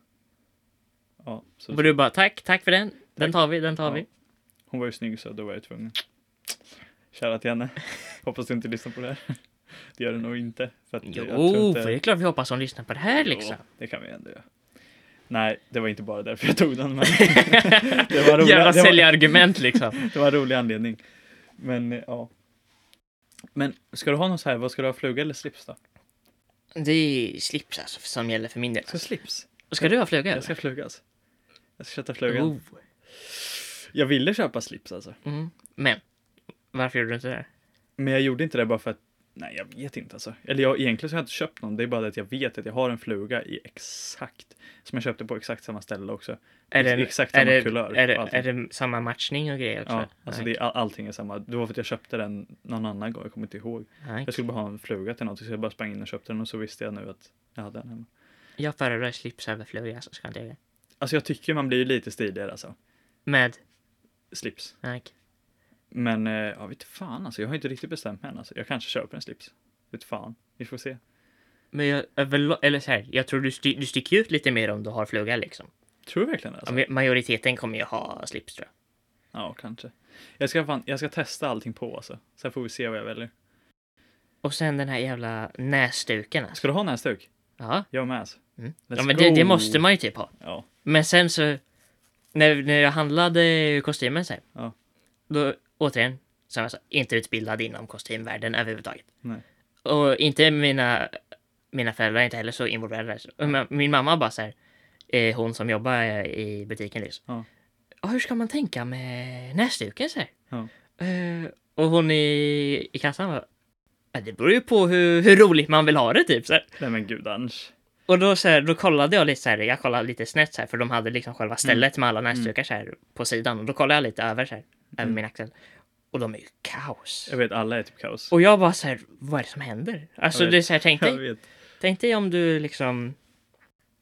Speaker 1: Ja, så
Speaker 2: Och du bara tack, tack för den. Den tar vi, den tar
Speaker 1: Ja.
Speaker 2: vi.
Speaker 1: hon var ju snygg så då var jag tvungen. Kära till henne. Hoppas du inte lyssnar på det här. Det gör det nog inte. För att jag tror
Speaker 2: Jo,
Speaker 1: inte...
Speaker 2: för det är klart vi hoppas hon lyssnar på det här liksom.
Speaker 1: Jo, det kan vi ändå göra. Nej, det var inte bara därför jag tog den, men det, var roliga,
Speaker 2: Jävla
Speaker 1: det, var,
Speaker 2: säljargument liksom.
Speaker 1: det var en rolig anledning. Men eh, ja. Men ska du ha något så här, vad ska du ha, fluga eller slips då?
Speaker 2: Det är slips alltså som gäller för min del.
Speaker 1: Jag ska slips.
Speaker 2: Ska du ha fluga?
Speaker 1: Jag
Speaker 2: eller?
Speaker 1: ska flugas. Jag ska köta flugan.
Speaker 2: Oh.
Speaker 1: Jag ville köpa slips alltså.
Speaker 2: Mm. Men, varför gjorde du inte det?
Speaker 1: Men jag gjorde inte det bara för att, nej jag vet inte alltså. Eller jag, egentligen så har jag inte köpt någon, det är bara det att jag vet att jag har en fluga i exakt, som jag köpte på exakt samma ställe också.
Speaker 2: Är det,
Speaker 1: Exakt
Speaker 2: är
Speaker 1: samma
Speaker 2: det,
Speaker 1: kulör
Speaker 2: Är det,
Speaker 1: och allting.
Speaker 2: är det samma matchning och grejer också?
Speaker 1: Ja, alltså det, är- all- allting är samma. Det var för att jag köpte den någon annan gång, jag kommer inte ihåg.
Speaker 2: Nej.
Speaker 1: Jag skulle bara ha en fluga till något, så jag bara sprang in och köpte den och så visste jag nu att jag hade den hemma.
Speaker 2: Jag föredrar slips över fluga, så ska jag det.
Speaker 1: Alltså jag tycker man blir ju lite stiligare alltså.
Speaker 2: Med,
Speaker 1: Slips.
Speaker 2: nej.
Speaker 1: Men eh, ja, vet fan alltså. Jag har inte riktigt bestämt mig än alltså. Jag kanske köper en slips. Vet fan. Vi får se.
Speaker 2: Men jag, överlag, eller så här, jag tror du, sti, du sticker ut lite mer om du har fluga liksom.
Speaker 1: Tror du verkligen det
Speaker 2: Ja,
Speaker 1: alltså?
Speaker 2: men Majoriteten kommer ju ha slips tror jag.
Speaker 1: Ja, kanske. Jag ska, fan, jag ska testa allting på alltså. Sen får vi se vad jag väljer.
Speaker 2: Och sen den här jävla näsduken alltså.
Speaker 1: Ska du ha näsduk?
Speaker 2: Ja.
Speaker 1: Jag med alltså.
Speaker 2: Mm.
Speaker 1: Let's
Speaker 2: ja men det, det
Speaker 1: go.
Speaker 2: måste man ju typ ha.
Speaker 1: Ja.
Speaker 2: Men sen så, när, när jag handlade kostymen så här,
Speaker 1: Ja.
Speaker 2: då återigen, som jag sa, inte utbildad inom kostymvärlden överhuvudtaget.
Speaker 1: Nej.
Speaker 2: Och inte mina, mina föräldrar, är inte heller så involverade. där. Så- men Min mamma bara så här, eh, hon som jobbar i butiken liksom.
Speaker 1: Ja.
Speaker 2: "Ja, hur ska man tänka med näsduken så här?
Speaker 1: Ja.
Speaker 2: Eh, och hon i, i kassan bara, "Ja, det beror ju på hur, hur roligt man vill ha det typ så här.
Speaker 1: Nej men gudans.
Speaker 2: Och då, så här, då kollade jag lite så här, jag kollade lite snett så här, för de hade liksom
Speaker 1: Mm.
Speaker 2: själva stället med alla näsdukar så här på sidan. Och då kollade jag lite över så här, över min axel. Och de är ju kaos.
Speaker 1: Mm. Jag vet, alla är typ kaos.
Speaker 2: Och jag bara så här, vad är det som händer? Alltså
Speaker 1: Jag vet.
Speaker 2: det är så här, tänk
Speaker 1: Jag
Speaker 2: dig,
Speaker 1: vet.
Speaker 2: tänk dig om du liksom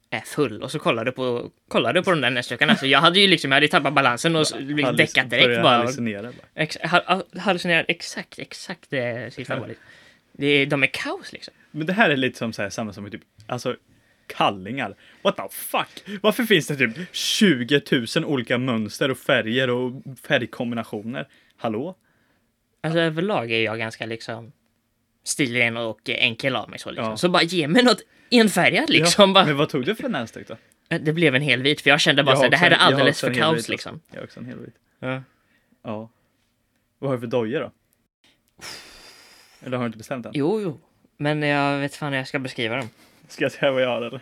Speaker 2: är full och så kollar du på, kollar du på de där näsdukarna. Alltså jag hade ju liksom, jag hade ju tappat balansen och så- liksom
Speaker 1: Halluc-
Speaker 2: däckat direkt
Speaker 1: börjar
Speaker 2: bara.
Speaker 1: hallucinera bara.
Speaker 2: Ex, ha- ha- hallucinerar exakt, exakt det sista var liksom. Det är, de är kaos liksom.
Speaker 1: Men det här är lite som så här, samma som med typ, alltså kallingar. What the fuck? Varför finns det typ 20 000 olika mönster och färger och färgkombinationer? Hallå?
Speaker 2: Alltså överlag är jag ganska liksom stilren och enkel av mig så liksom.
Speaker 1: Ja.
Speaker 2: Så bara ge mig något enfärgat liksom.
Speaker 1: Ja,
Speaker 2: bara, "Äh,
Speaker 1: men vad tog du för näsduk då?
Speaker 2: Det blev en hel vit för jag kände bara
Speaker 1: Jag
Speaker 2: så
Speaker 1: har
Speaker 2: här,
Speaker 1: också
Speaker 2: det här är
Speaker 1: en- jag har
Speaker 2: alldeles
Speaker 1: också
Speaker 2: för
Speaker 1: en hel vit.
Speaker 2: kaos liksom.
Speaker 1: Jag har också en helvit.
Speaker 2: Ja.
Speaker 1: Ja. Vad har du för dojor då? Eller har du inte bestämt än?
Speaker 2: Jo, jo. Men jag vet fan hur jag ska beskriva dem.
Speaker 1: Ska jag säga vad jag har eller?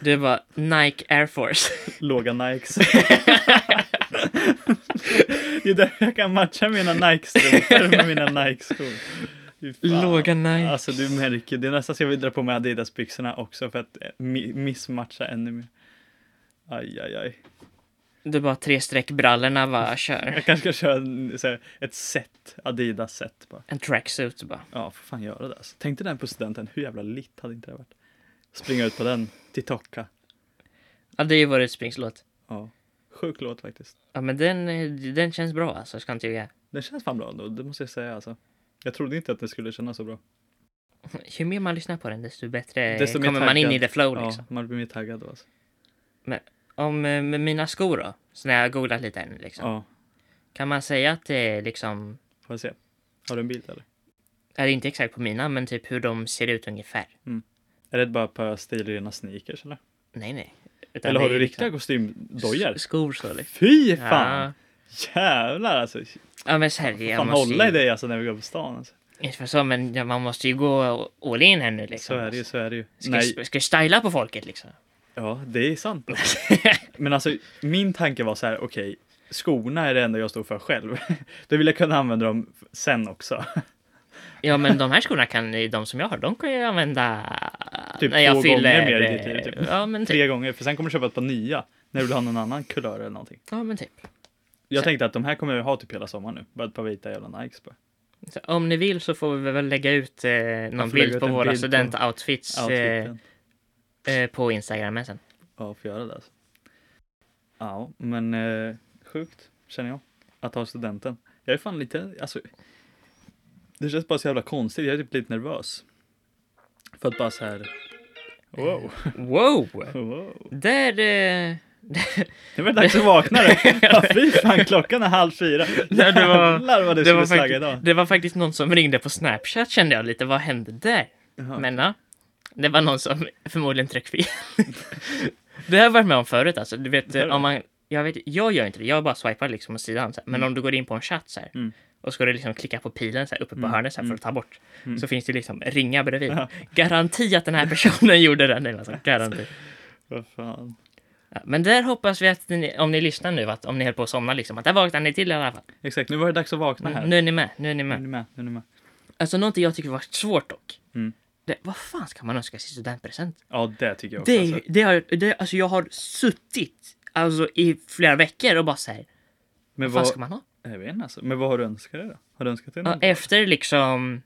Speaker 2: Du är bara Nike Air Force.
Speaker 1: Låga Nikes. det är därför jag kan matcha mina Nike-strumpor med mina Nike-skor. Fy fan.
Speaker 2: Låga Nike.
Speaker 1: Alltså du märker, det är nästan så jag vill dra på mig Adidas-byxorna också för att eh, mi- missmatcha ännu mer. Aj, aj, aj.
Speaker 2: Du är bara tre streck brallorna bara kör.
Speaker 1: Jag kanske ska köra en, så här, ett set, Adidas-set bara.
Speaker 2: En tracksuit bara.
Speaker 1: Ja, får fan göra det alltså. Tänk dig den på studenten, hur jävla litt hade inte det varit? Springa ut på den, till Tokka.
Speaker 2: Ja, det är ju vår utspringslåt.
Speaker 1: Ja, sjuk låt faktiskt.
Speaker 2: Ja, men den, eh, den känns bra alltså, ska inte ljuga.
Speaker 1: Den känns fan bra ändå, det måste jag säga alltså. Jag trodde inte att den skulle kännas så bra.
Speaker 2: Ju mer man lyssnar på den, desto bättre
Speaker 1: Desto mer
Speaker 2: kommer man in
Speaker 1: taggad.
Speaker 2: i the flow liksom.
Speaker 1: Ja, man blir mer taggad då alltså.
Speaker 2: Om eh, med mina skor då, så när jag har googlat lite här nu liksom.
Speaker 1: Ja,
Speaker 2: Kan man säga att det är liksom,
Speaker 1: får jag se. Har du en bild eller?
Speaker 2: är inte exakt på mina, men typ hur de ser ut ungefär?
Speaker 1: Är det bara ett par stilrena sneakers eller?
Speaker 2: Nej, nej. Utan
Speaker 1: Eller har
Speaker 2: det
Speaker 1: du
Speaker 2: är
Speaker 1: riktiga
Speaker 2: liksom
Speaker 1: kostymdojor?
Speaker 2: s- Skor så liksom.
Speaker 1: Fy
Speaker 2: Ja.
Speaker 1: fan! Jävlar alltså!
Speaker 2: ja, men så här, jag
Speaker 1: Fan
Speaker 2: måste
Speaker 1: hålla i
Speaker 2: ju,
Speaker 1: dig alltså när vi går på stan. Alltså.
Speaker 2: inte för så, men ja, man måste ju gå all in här nu liksom.
Speaker 1: Så är det ju, så är det ju.
Speaker 2: Ska,
Speaker 1: Nej,
Speaker 2: ska styla på folket liksom.
Speaker 1: ja det är sant. Men alltså min tanke var så här, okej, skorna är det enda jag står för själv. Då vill jag kunna använda dem sen också.
Speaker 2: ja, men de här skorna kan ju- de som jag har, de kan jag använda
Speaker 1: Typ
Speaker 2: när jag
Speaker 1: två
Speaker 2: fyller...
Speaker 1: gånger mer i ditt liv, typ.
Speaker 2: Ja, men typ.
Speaker 1: Tre gånger, för sen kommer du köpa ett par nya. När du vill ha någon annan kulör eller någonting.
Speaker 2: Ja, men typ.
Speaker 1: Jag
Speaker 2: Sen-
Speaker 1: tänkte att de här kommer jag ha typ hela sommaren nu. Bara ett par vita jävla Nikes bara.
Speaker 2: Så om ni vill så får vi väl lägga ut eh, någon
Speaker 1: får lägga
Speaker 2: bild
Speaker 1: ut
Speaker 2: på
Speaker 1: en
Speaker 2: våra
Speaker 1: bild på
Speaker 2: studentoutfits eh,
Speaker 1: Outfiten.
Speaker 2: eh, på Instagram sen.
Speaker 1: typ Ja, får göra det alltså. Ja, men eh, sjukt känner jag. Att ha studenten. Jag är fan lite, alltså. Det känns bara så jävla konstigt. Jag är typ lite nervös. För att bara så här. Wow.
Speaker 2: Wow!
Speaker 1: wow.
Speaker 2: Där, eh,
Speaker 1: Det var dags att vakna då. Ja, fy fan, klockan är halv fyra.
Speaker 2: Nej, det var-
Speaker 1: Jävlar vad du
Speaker 2: Det var,
Speaker 1: skulle slagga
Speaker 2: faktiskt,
Speaker 1: idag.
Speaker 2: det var faktiskt någon som ringde på Snapchat kände jag lite, vad hände där?
Speaker 1: Jaha.
Speaker 2: Men ja, det var någon som förmodligen tryckte fel. det har jag varit med om förut alltså, du vet,
Speaker 1: Har du?
Speaker 2: om man, jag, vet, jag gör inte det, jag bara swipar liksom åt sidan. Så här. Men om du går in på en chatt så här,
Speaker 1: Mm.
Speaker 2: och ska du liksom klicka på pilen så här, uppe på hörnet så här, för att ta bort,
Speaker 1: Mm.
Speaker 2: så finns det liksom ringa bredvid.
Speaker 1: Ja.
Speaker 2: Garanti att den här personen gjorde det nu alltså, garanti.
Speaker 1: Vad fan.
Speaker 2: Ja, men där hoppas vi att ni, om ni lyssnar nu, att om ni höll på att somna liksom, att där vaknar ni till i alla fall.
Speaker 1: Exakt, nu var det dags att vakna här.
Speaker 2: Nu är ni med, nu är ni
Speaker 1: Nu
Speaker 2: med.
Speaker 1: är ni med, nu är ni med.
Speaker 2: Alltså någonting jag tycker var svårt dock.
Speaker 1: Mm.
Speaker 2: Det, vad fan ska man önska sig i studentpresent?
Speaker 1: Ja, det tycker jag också.
Speaker 2: Det, är-
Speaker 1: alltså.
Speaker 2: det har, det, alltså jag har suttit alltså, i flera veckor och bara såhär,
Speaker 1: Men
Speaker 2: vad fan
Speaker 1: vad,
Speaker 2: ska man ha? Mm.
Speaker 1: jag vet inte alltså. Men vad har du önskat dig då? Har du önskat dig
Speaker 2: Ja,
Speaker 1: något?
Speaker 2: efter liksom,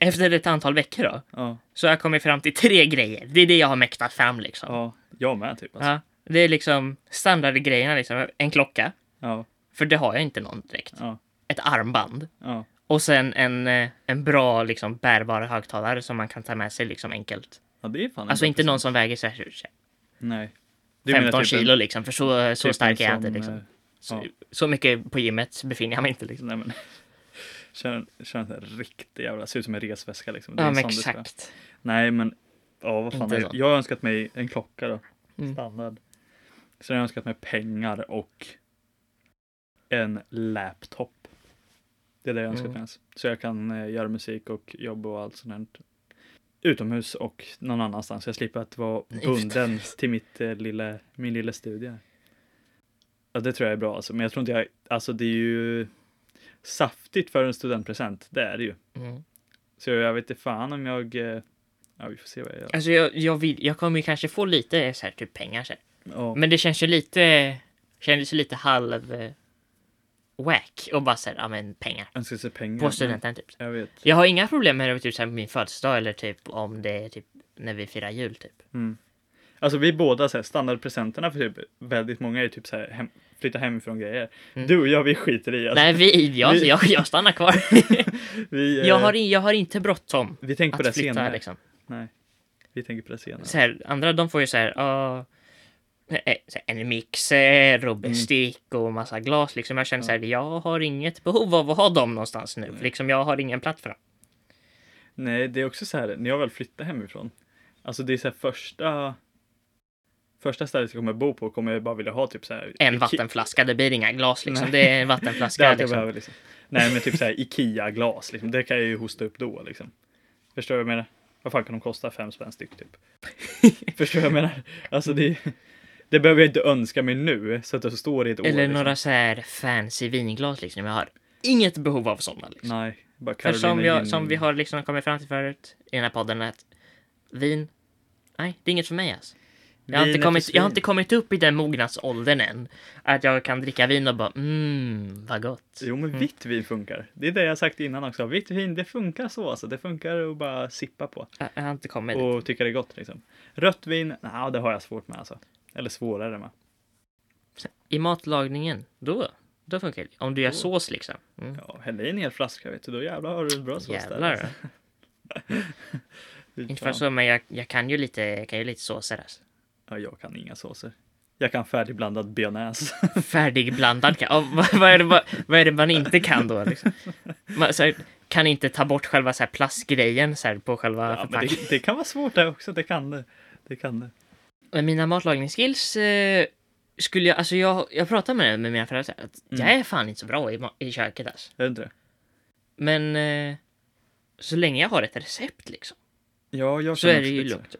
Speaker 2: efter ett antal veckor då,
Speaker 1: Ja,
Speaker 2: så har jag kommit fram till tre grejer. Det är det jag har mäktat fram liksom.
Speaker 1: ja, jag med typ alltså.
Speaker 2: Ja, det är liksom standardgrejerna liksom. En klocka,
Speaker 1: Ja,
Speaker 2: för det har jag inte någon direkt.
Speaker 1: ja,
Speaker 2: Ett armband.
Speaker 1: ja.
Speaker 2: Och sen en, eh, en bra liksom, bärbar högtalare som man kan ta med sig liksom, enkelt.
Speaker 1: Ja, det är fan en
Speaker 2: Alltså
Speaker 1: bra
Speaker 2: inte
Speaker 1: present.
Speaker 2: någon som väger så här,
Speaker 1: Nej. Du menar
Speaker 2: 15
Speaker 1: typ en-
Speaker 2: kilo liksom, för så, så
Speaker 1: typ en
Speaker 2: stark är jag inte.
Speaker 1: sån,
Speaker 2: Liksom.
Speaker 1: eh,
Speaker 2: Så,
Speaker 1: ja.
Speaker 2: så mycket på gymmet befinner jag mig inte. Liksom.
Speaker 1: Nej men. Kör en, kör en sån här riktig jävla, ser ut som en resväska liksom. Det är
Speaker 2: Ja
Speaker 1: en
Speaker 2: men
Speaker 1: sån du ska ha.
Speaker 2: exakt.
Speaker 1: Nej men, ja vad fan.
Speaker 2: Inte
Speaker 1: är det?
Speaker 2: sån.
Speaker 1: Jag har önskat mig en klocka då.
Speaker 2: Mm.
Speaker 1: Standard. Sen har jag önskat mig pengar och en laptop. Det är det jag önskat
Speaker 2: Mm.
Speaker 1: mig. alltså. Så jag kan eh, göra musik och jobba och allt sånt där. Utomhus och någon annanstans. Jag slipper att vara bunden till mitt, eh, lilla, min lilla studie. här. Ja, det tror jag är bra alltså. Men jag tror inte jag, alltså det är ju saftigt för en studentpresent. Det är det ju.
Speaker 2: Mm.
Speaker 1: Så jag vet inte fan om jag, eh, ja vi får se vad jag gör.
Speaker 2: Alltså jag, jag, vill, jag kommer ju kanske få lite så här, typ pengar så här.
Speaker 1: Ja.
Speaker 2: Men det känns ju lite, kändes ju lite halv eh, whack och bara såhär, ja men pengar.
Speaker 1: Jag önskar sig pengar.
Speaker 2: På studenten typ.
Speaker 1: Jag vet.
Speaker 2: Jag har inga problem med det typ så här, på min födelsedag eller typ om det är typ när vi firar jul typ.
Speaker 1: Mm. Alltså vi båda så här, standardpresenterna för typ väldigt många är typ så här hem, flytta hemifrån grejer.
Speaker 2: Mm.
Speaker 1: Du och jag vi skiter i alltså.
Speaker 2: Nej, vi, jag,
Speaker 1: Vi-
Speaker 2: jag, jag stannar kvar.
Speaker 1: Vi, eh,
Speaker 2: jag, har, in- jag har inte bråttom
Speaker 1: vi tänker på det
Speaker 2: att flytta
Speaker 1: senare.
Speaker 2: liksom.
Speaker 1: Nej. Vi tänker på det senare.
Speaker 2: Så här, andra de får ju så här, ja, eh, så här, en mixer
Speaker 1: Mm.
Speaker 2: och bestick och massa glas liksom. Jag känner så här, jag har inget behov av att ha dem någonstans nu. Liksom, jag har ingen plats för dem.
Speaker 1: Nej, det är också så här när jag väl flyttar hemifrån. Alltså det är så här första första stället jag kommer bo på kommer jag bara vilja ha typ så här
Speaker 2: En
Speaker 1: Ike-
Speaker 2: vattenflaska, det blir inga glas liksom.
Speaker 1: Nej.
Speaker 2: Det är en
Speaker 1: Det är
Speaker 2: vattenflaska
Speaker 1: allt jag
Speaker 2: liksom.
Speaker 1: behöver liksom. Nej men typ så här Ikea-glas liksom. Det kan jag ju hosta upp då liksom. Förstår du vad jag menar? Vad fan kan de kosta? Fem spänn styck typ. Förstår du vad jag menar? Alltså det, det behöver jag inte önska mig nu så att det står i ett år.
Speaker 2: Eller
Speaker 1: liksom.
Speaker 2: några så här fancy vinglas liksom. Jag har inget behov av sådana liksom.
Speaker 1: Nej, bara
Speaker 2: För
Speaker 1: Carolina
Speaker 2: som, jag,
Speaker 1: Gin-
Speaker 2: som vi har liksom kommit fram till förut i den här podden att vin, nej, det är inget för mig alltså. Jag har,
Speaker 1: Vin
Speaker 2: inte
Speaker 1: är
Speaker 2: kommit,
Speaker 1: för
Speaker 2: jag har
Speaker 1: svin.
Speaker 2: inte kommit upp i den mognadsåldern än. Att jag kan dricka vin och bara mm, vad gott.
Speaker 1: Jo men vitt vin funkar. Det är det jag sagt innan också. Vitt vin, det funkar så alltså. Det funkar att bara sippa på
Speaker 2: Jag, jag har inte kommit dit.
Speaker 1: och tycka det är gott liksom. Rött vin, nej det har jag svårt med alltså. Eller svårare med.
Speaker 2: I matlagningen, då, då funkar det. Om du gör sås liksom. Mm.
Speaker 1: Ja, häll i en hel flaska vet du, då jävlar har du en bra sås där,
Speaker 2: Jävlar.
Speaker 1: alltså. Fy
Speaker 2: Inte för
Speaker 1: fan.
Speaker 2: att så, men jag, jag kan ju lite, jag kan ju lite såser alltså.
Speaker 1: Ja, jag kan inga såser. Jag kan färdigblandad bearnaise.
Speaker 2: Färdigblandad kan, oh, vad, vad, är det, vad, vad är det man inte kan då liksom? Man, så här, kan inte ta bort själva så här, plastgrejen så här, på själva
Speaker 1: Ja, men
Speaker 2: förpackningen.
Speaker 1: det, det kan vara svårt det också, det kan det. Det kan det.
Speaker 2: Men eh, mina matlagningsskills eh, skulle jag, alltså jag, jag pratade med, med mina föräldrar så här, att
Speaker 1: Mm.
Speaker 2: jag är fan inte så bra i, ma- i köket alltså.
Speaker 1: Är det inte det?
Speaker 2: Men eh, så länge jag har ett recept liksom
Speaker 1: Ja, jag
Speaker 2: så
Speaker 1: känner
Speaker 2: är det
Speaker 1: också
Speaker 2: ju
Speaker 1: lite så.
Speaker 2: lugnt.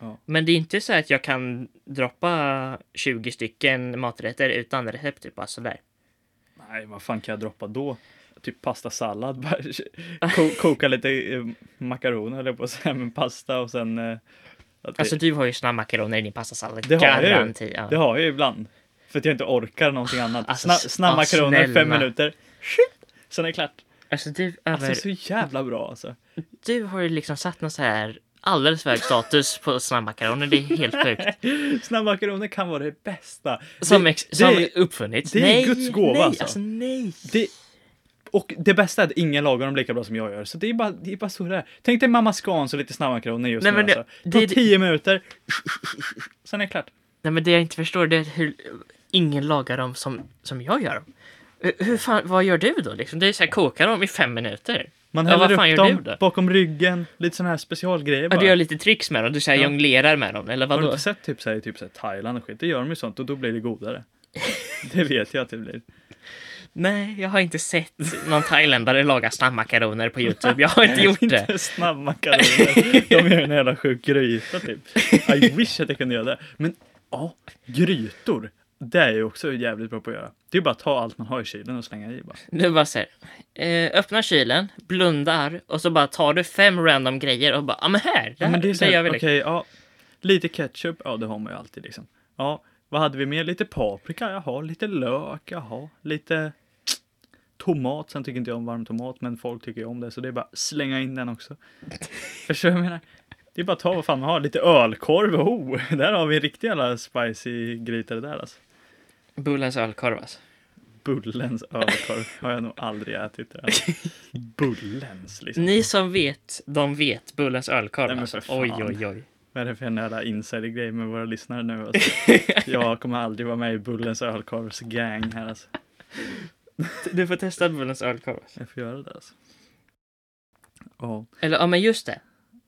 Speaker 1: Ja.
Speaker 2: Men det är inte så att jag kan droppa 20 stycken maträtter utan recept typ bara sådär.
Speaker 1: Nej, vad fan kan jag droppa då? Typ pastasallad, bara ko koka lite eh, makaroner eller på att säga, men pasta och sen... eh, Att det,
Speaker 2: Alltså du har ju såna makaroner i din pastasallad.
Speaker 1: det har jag ju.
Speaker 2: garanti, ja.
Speaker 1: Det har jag ju ibland. För att jag inte orkar någonting annat.
Speaker 2: Alltså,
Speaker 1: Sna
Speaker 2: s-
Speaker 1: snabba
Speaker 2: ah,
Speaker 1: makaroner, fem
Speaker 2: snälla.
Speaker 1: minuter. Sen är det klart.
Speaker 2: Alltså du, över,
Speaker 1: Alltså så jävla bra alltså.
Speaker 2: du har ju liksom satt någon så här alldeles för hög status på såna makaroner. Det är helt sjukt.
Speaker 1: Snabbmakaroner kan vara det bästa.
Speaker 2: Som,
Speaker 1: Det-
Speaker 2: ex- som
Speaker 1: det-
Speaker 2: uppfunnits.
Speaker 1: det är
Speaker 2: nej,
Speaker 1: Guds gåva,
Speaker 2: nej,
Speaker 1: alltså.
Speaker 2: nej.
Speaker 1: Det, och det bästa är att ingen lagar dem lika bra som jag gör. Så det är bara, det är bara så det är. Tänk dig mamma Scans och lite snabbmakaroner just
Speaker 2: Nej,
Speaker 1: nu
Speaker 2: men det-
Speaker 1: alltså.
Speaker 2: det-
Speaker 1: Ta 10 minuter. Sen är det klart.
Speaker 2: Nej men det jag inte förstår det är hur ingen lagar dem som, som jag gör dem. Hur- Hur fan, vad gör du då liksom? Det är såhär, kokar dem i fem minuter.
Speaker 1: Man
Speaker 2: Ja,
Speaker 1: häller
Speaker 2: vad fan
Speaker 1: upp
Speaker 2: gör du
Speaker 1: dem
Speaker 2: då?
Speaker 1: bakom ryggen, lite sådana här specialgrejer
Speaker 2: Ja,
Speaker 1: bara.
Speaker 2: du gör lite tricks med dem, du såhär
Speaker 1: Ja.
Speaker 2: jonglerar med dem eller
Speaker 1: Har du
Speaker 2: vadå?
Speaker 1: inte sett typ så här, i typ så här Thailand och skit? Det gör de ju sånt och då blir det godare. Det vet jag att det blir.
Speaker 2: Nej, jag har inte sett någon thailändare laga snabbmakaroner på Youtube. Jag har inte gjort det.
Speaker 1: Inte snabbmakaroner. De gör en jävla sjuk gryta typ. I wish att jag kunde göra det. Men ja, grytor. Det är jag också jävligt bra på att göra. Det är bara att ta allt man har i kylen och slänga i bara.
Speaker 2: Du bara såhär, eh, öppnar kylen, blundar och så bara tar du fem random grejer och bara, ja ah, men här, det,
Speaker 1: Ja,
Speaker 2: här,
Speaker 1: men det är
Speaker 2: det,
Speaker 1: så
Speaker 2: gör
Speaker 1: här,
Speaker 2: vi
Speaker 1: okej,
Speaker 2: liksom.
Speaker 1: ja. Lite ketchup, ja det har man ju alltid liksom. Ja, vad hade vi mer? Lite paprika, jaha. Lite lök, jaha. Lite tomat, sen tycker inte jag om varm tomat, men folk tycker ju om det, så det är bara slänga in den också. Förstår du vad jag menar? Det är bara att ta vad fan man har. Lite ölkorv, oh! Där har vi en riktig jävla spicy gryta det där alltså.
Speaker 2: Bullens ölkorv alltså.
Speaker 1: Bullens ölkorv har jag nog aldrig ätit. Det alltså. Bullens liksom.
Speaker 2: Ni som vet, de vet Bullens ölkorv
Speaker 1: Nej, men
Speaker 2: alltså.
Speaker 1: för fan.
Speaker 2: Oj, oj, oj.
Speaker 1: Vad är det för en jävla insidergrej med våra lyssnare nu? Alltså? Jag kommer aldrig vara med i Bullens ölkorvs gang här alltså.
Speaker 2: Du får testa Bullens ölkorv. Alltså.
Speaker 1: Jag får göra det alltså. Ja,
Speaker 2: Eller ja, men just det.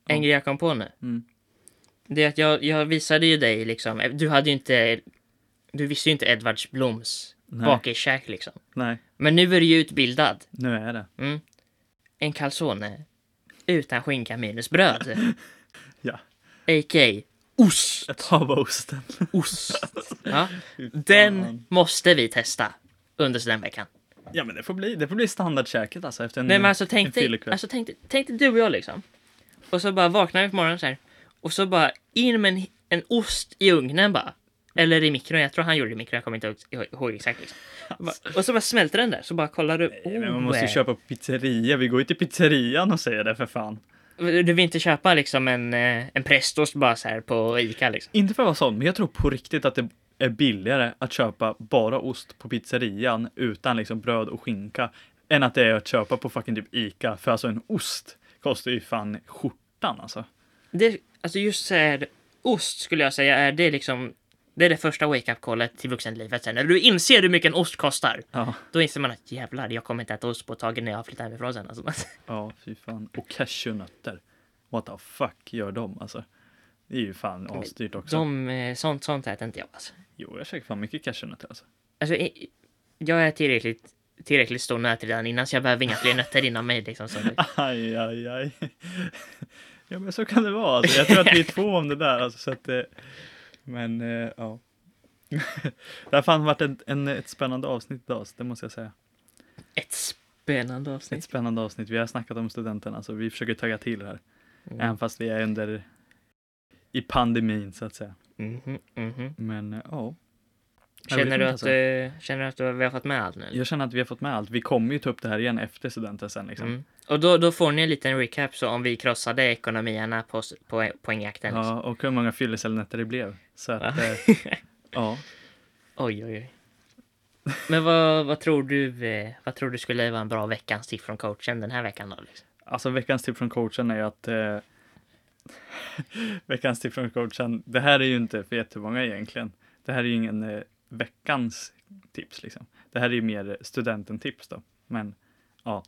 Speaker 2: En
Speaker 1: Ja.
Speaker 2: grej jag kom på nu.
Speaker 1: Mm.
Speaker 2: Det är att jag, jag visade ju dig liksom, du hade ju inte, du visste ju inte Edvards Bloms
Speaker 1: nej,
Speaker 2: bakiskäk liksom.
Speaker 1: nej,
Speaker 2: Men nu är du ju utbildad.
Speaker 1: nu är det.
Speaker 2: Mm. En calzone utan skinka minus bröd.
Speaker 1: Ja.
Speaker 2: A.k.a. ost.
Speaker 1: Jag tar bara osten.
Speaker 2: Ost. Ja.
Speaker 1: Fy fan.
Speaker 2: Den måste vi testa under den veckan.
Speaker 1: Ja men det får bli, det får bli standardkäket alltså efter en
Speaker 2: Nej men alltså
Speaker 1: en
Speaker 2: tänk dig,
Speaker 1: fyllekväll.
Speaker 2: alltså, tänk, dig- tänk dig du och jag liksom. Och så bara vaknar vi på morgonen så här. Och så bara in med en, en ost i ugnen bara. Eller i mikron, jag tror han gjorde det i mikron, jag kommer inte ihåg- ihåg exakt. Liksom. Bara- Och så bara smälter den där, så bara kollar du.
Speaker 1: Nej, men man måste ju
Speaker 2: Oh,
Speaker 1: köpa på pizzeria, vi går ju till pizzerian och säger det för fan.
Speaker 2: Du vill inte köpa liksom en, eh, en prästost bara så här på Ica liksom.
Speaker 1: Inte för att vara sån, men jag tror på riktigt att det är billigare att köpa bara ost på pizzerian utan liksom bröd och skinka än att det är att köpa på fucking typ Ica. För alltså en ost kostar ju fan skjortan alltså.
Speaker 2: Det, alltså just så här, ost skulle jag säga är det liksom det är det första wake-up callet till vuxenlivet. Sen när du inser hur mycket en ost kostar,
Speaker 1: Ja,
Speaker 2: då inser man att jävlar, jag kommer inte äta ost på ett tag när jag flyttar hemifrån sen. Alltså.
Speaker 1: ja fy fan. Och cashewnötter. What the fuck gör de alltså? Det är ju fan asdyrt också.
Speaker 2: De, eh, sånt, sånt äter inte jag. Alltså.
Speaker 1: Jo, jag käkar fan mycket cashewnötter alltså.
Speaker 2: Alltså, i- jag är tillräckligt, tillräckligt stor nöt redan innan, så jag behöver inga fler nötter innan mig. Liksom, så.
Speaker 1: Aj, aj, aj. Ja, men så kan det vara. Alltså. Jag tror att vi är två om det där. Alltså, så att, eh, men eh, ja. Det har fan varit en, en, ett spännande avsnitt idag, så det måste jag säga.
Speaker 2: Ett spännande
Speaker 1: Ett
Speaker 2: avsnitt.
Speaker 1: spännande avsnitt. Vi har snackat om studenterna, så vi försöker tagga till här. Även
Speaker 2: Mm.
Speaker 1: fast vi är under i pandemin, så att säga.
Speaker 2: Mhm, mhm.
Speaker 1: Men eh, ja. Jag vet
Speaker 2: Känner, du
Speaker 1: inte,
Speaker 2: att,
Speaker 1: alltså.
Speaker 2: eh, känner du att du, vi har fått med allt nu?
Speaker 1: Jag känner att vi har fått med allt. Vi kommer ju ta upp det här igen efter studenten sen. Liksom.
Speaker 2: Mm. Och då, då får ni en liten recap så om vi krossade ekonomierna på, s- på poängjakten. liksom.
Speaker 1: Ja, och hur många fyllecellnätter det blev. Så att, eh, ja.
Speaker 2: Oj, oj, oj. Men vad, vad, tror du, eh, vad tror du skulle vara en bra veckans tips från coachen den här veckan då? Liksom?
Speaker 1: Alltså veckans tips från coachen är ju att eh, veckans tips från coachen, det här är ju inte för jättemånga egentligen. Det här är ju ingen eh, veckans tips liksom. Det här är ju mer studenten-tips då. Men ja,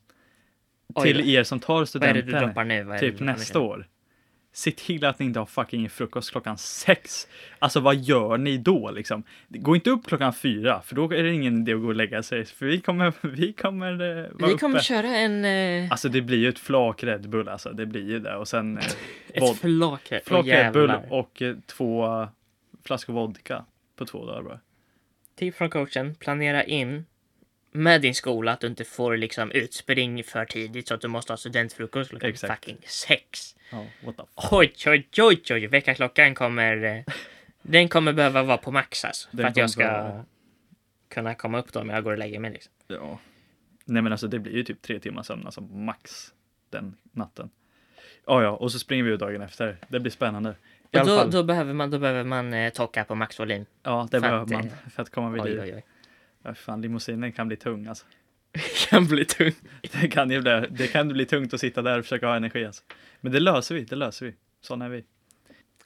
Speaker 2: Oj då.
Speaker 1: till er som tar
Speaker 2: Vad är det du
Speaker 1: studenten,
Speaker 2: droppar nu? Vad är det
Speaker 1: typ
Speaker 2: du droppar
Speaker 1: nästa
Speaker 2: nu?
Speaker 1: år. Se till att ni inte har fucking frukost klockan sex. Alltså vad gör ni då liksom? Gå inte upp klockan fyra, för då är det ingen idé att gå och lägga sig. För vi kommer, vi kommer eh, vara
Speaker 2: Vi kommer
Speaker 1: uppe.
Speaker 2: köra en... Eh,
Speaker 1: Alltså det blir ju ett flak Red Bull alltså, det blir ju det. Och sen eh, vod-
Speaker 2: ett flak. Åh,
Speaker 1: flak Red Bull
Speaker 2: jävlar.
Speaker 1: och eh, två flaskor vodka på två dagar bara.
Speaker 2: Tips Typ från coachen. Planera in med din skola att du inte får liksom utspring för tidigt så att du måste ha studentfrukost klockan
Speaker 1: Exakt.
Speaker 2: fucking sex.
Speaker 1: Ja, what the f-
Speaker 2: Oj, oj, oj, oj. Väckarklockan kommer... eh, Den kommer behöva vara på max alltså. För
Speaker 1: Den
Speaker 2: att jag ska
Speaker 1: kommer behöva-
Speaker 2: kunna komma upp då om jag går och lägger mig. Liksom.
Speaker 1: ja. Nej men alltså det blir ju typ tre timmar sömn alltså max den natten. Ja, ja, och så springer vi ut dagen efter. Det blir spännande. I
Speaker 2: Och
Speaker 1: alla
Speaker 2: då,
Speaker 1: fall,
Speaker 2: då behöver man, då behöver man eh, tocka på maxvolym.
Speaker 1: ja, det
Speaker 2: för
Speaker 1: behöver
Speaker 2: att,
Speaker 1: man
Speaker 2: eh,
Speaker 1: för att komma vid
Speaker 2: Oj,
Speaker 1: liv.
Speaker 2: oj, oj.
Speaker 1: Ja, fan, limousinen kan bli tung alltså.
Speaker 2: kan bli tung.
Speaker 1: Det kan ju bli, det kan bli tungt att sitta där och försöka ha energi alltså. Men det löser vi, det löser vi. Sådana är vi.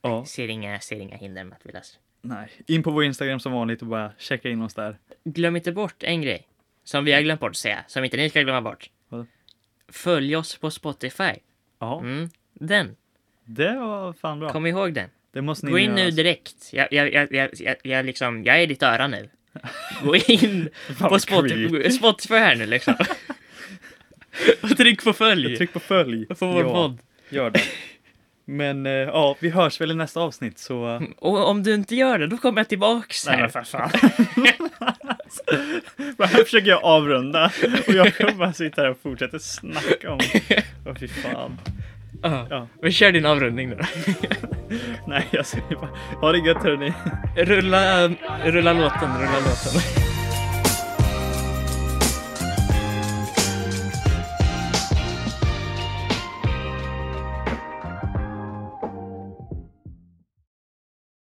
Speaker 1: Ja.
Speaker 2: Ser inga, ser inga hinder med att vi löser det.
Speaker 1: Nej. In på vår Instagram som vanligt och bara checka in oss där.
Speaker 2: Glöm inte bort en grej som vi har glömt bort att säga, som inte ni ska glömma bort.
Speaker 1: Vadå?
Speaker 2: Följ oss på Spotify.
Speaker 1: Ja,
Speaker 2: Mm. Den.
Speaker 1: det var fan bra.
Speaker 2: Kom ihåg den.
Speaker 1: Det måste ni
Speaker 2: Gå in
Speaker 1: göra,
Speaker 2: nu
Speaker 1: alltså.
Speaker 2: direkt. Jag, jag, jag, jag, jag, jag, liksom, jag är i ditt öra nu. Gå in
Speaker 1: Fan,
Speaker 2: på
Speaker 1: vad
Speaker 2: Spotify,
Speaker 1: creepy.
Speaker 2: Spotify här nu liksom. Och tryck på följ.
Speaker 1: Tryck på följ.
Speaker 2: på vår
Speaker 1: ja,
Speaker 2: podd.
Speaker 1: Gör det. Men eh, ja, vi hörs väl i nästa avsnitt så... eh,
Speaker 2: Och om du inte gör det, då kommer jag tillbaks
Speaker 1: Nej
Speaker 2: här.
Speaker 1: men för fan. Men här försöker jag avrunda och jag kommer bara sitta här och fortsätta snacka om... Åh fy fan.
Speaker 2: Ja.
Speaker 1: Ja.
Speaker 2: Men kör din avrundning nu då.
Speaker 1: Nej jag säger bara, ha det gött hörni.
Speaker 2: Rulla, rulla låten, rulla låten.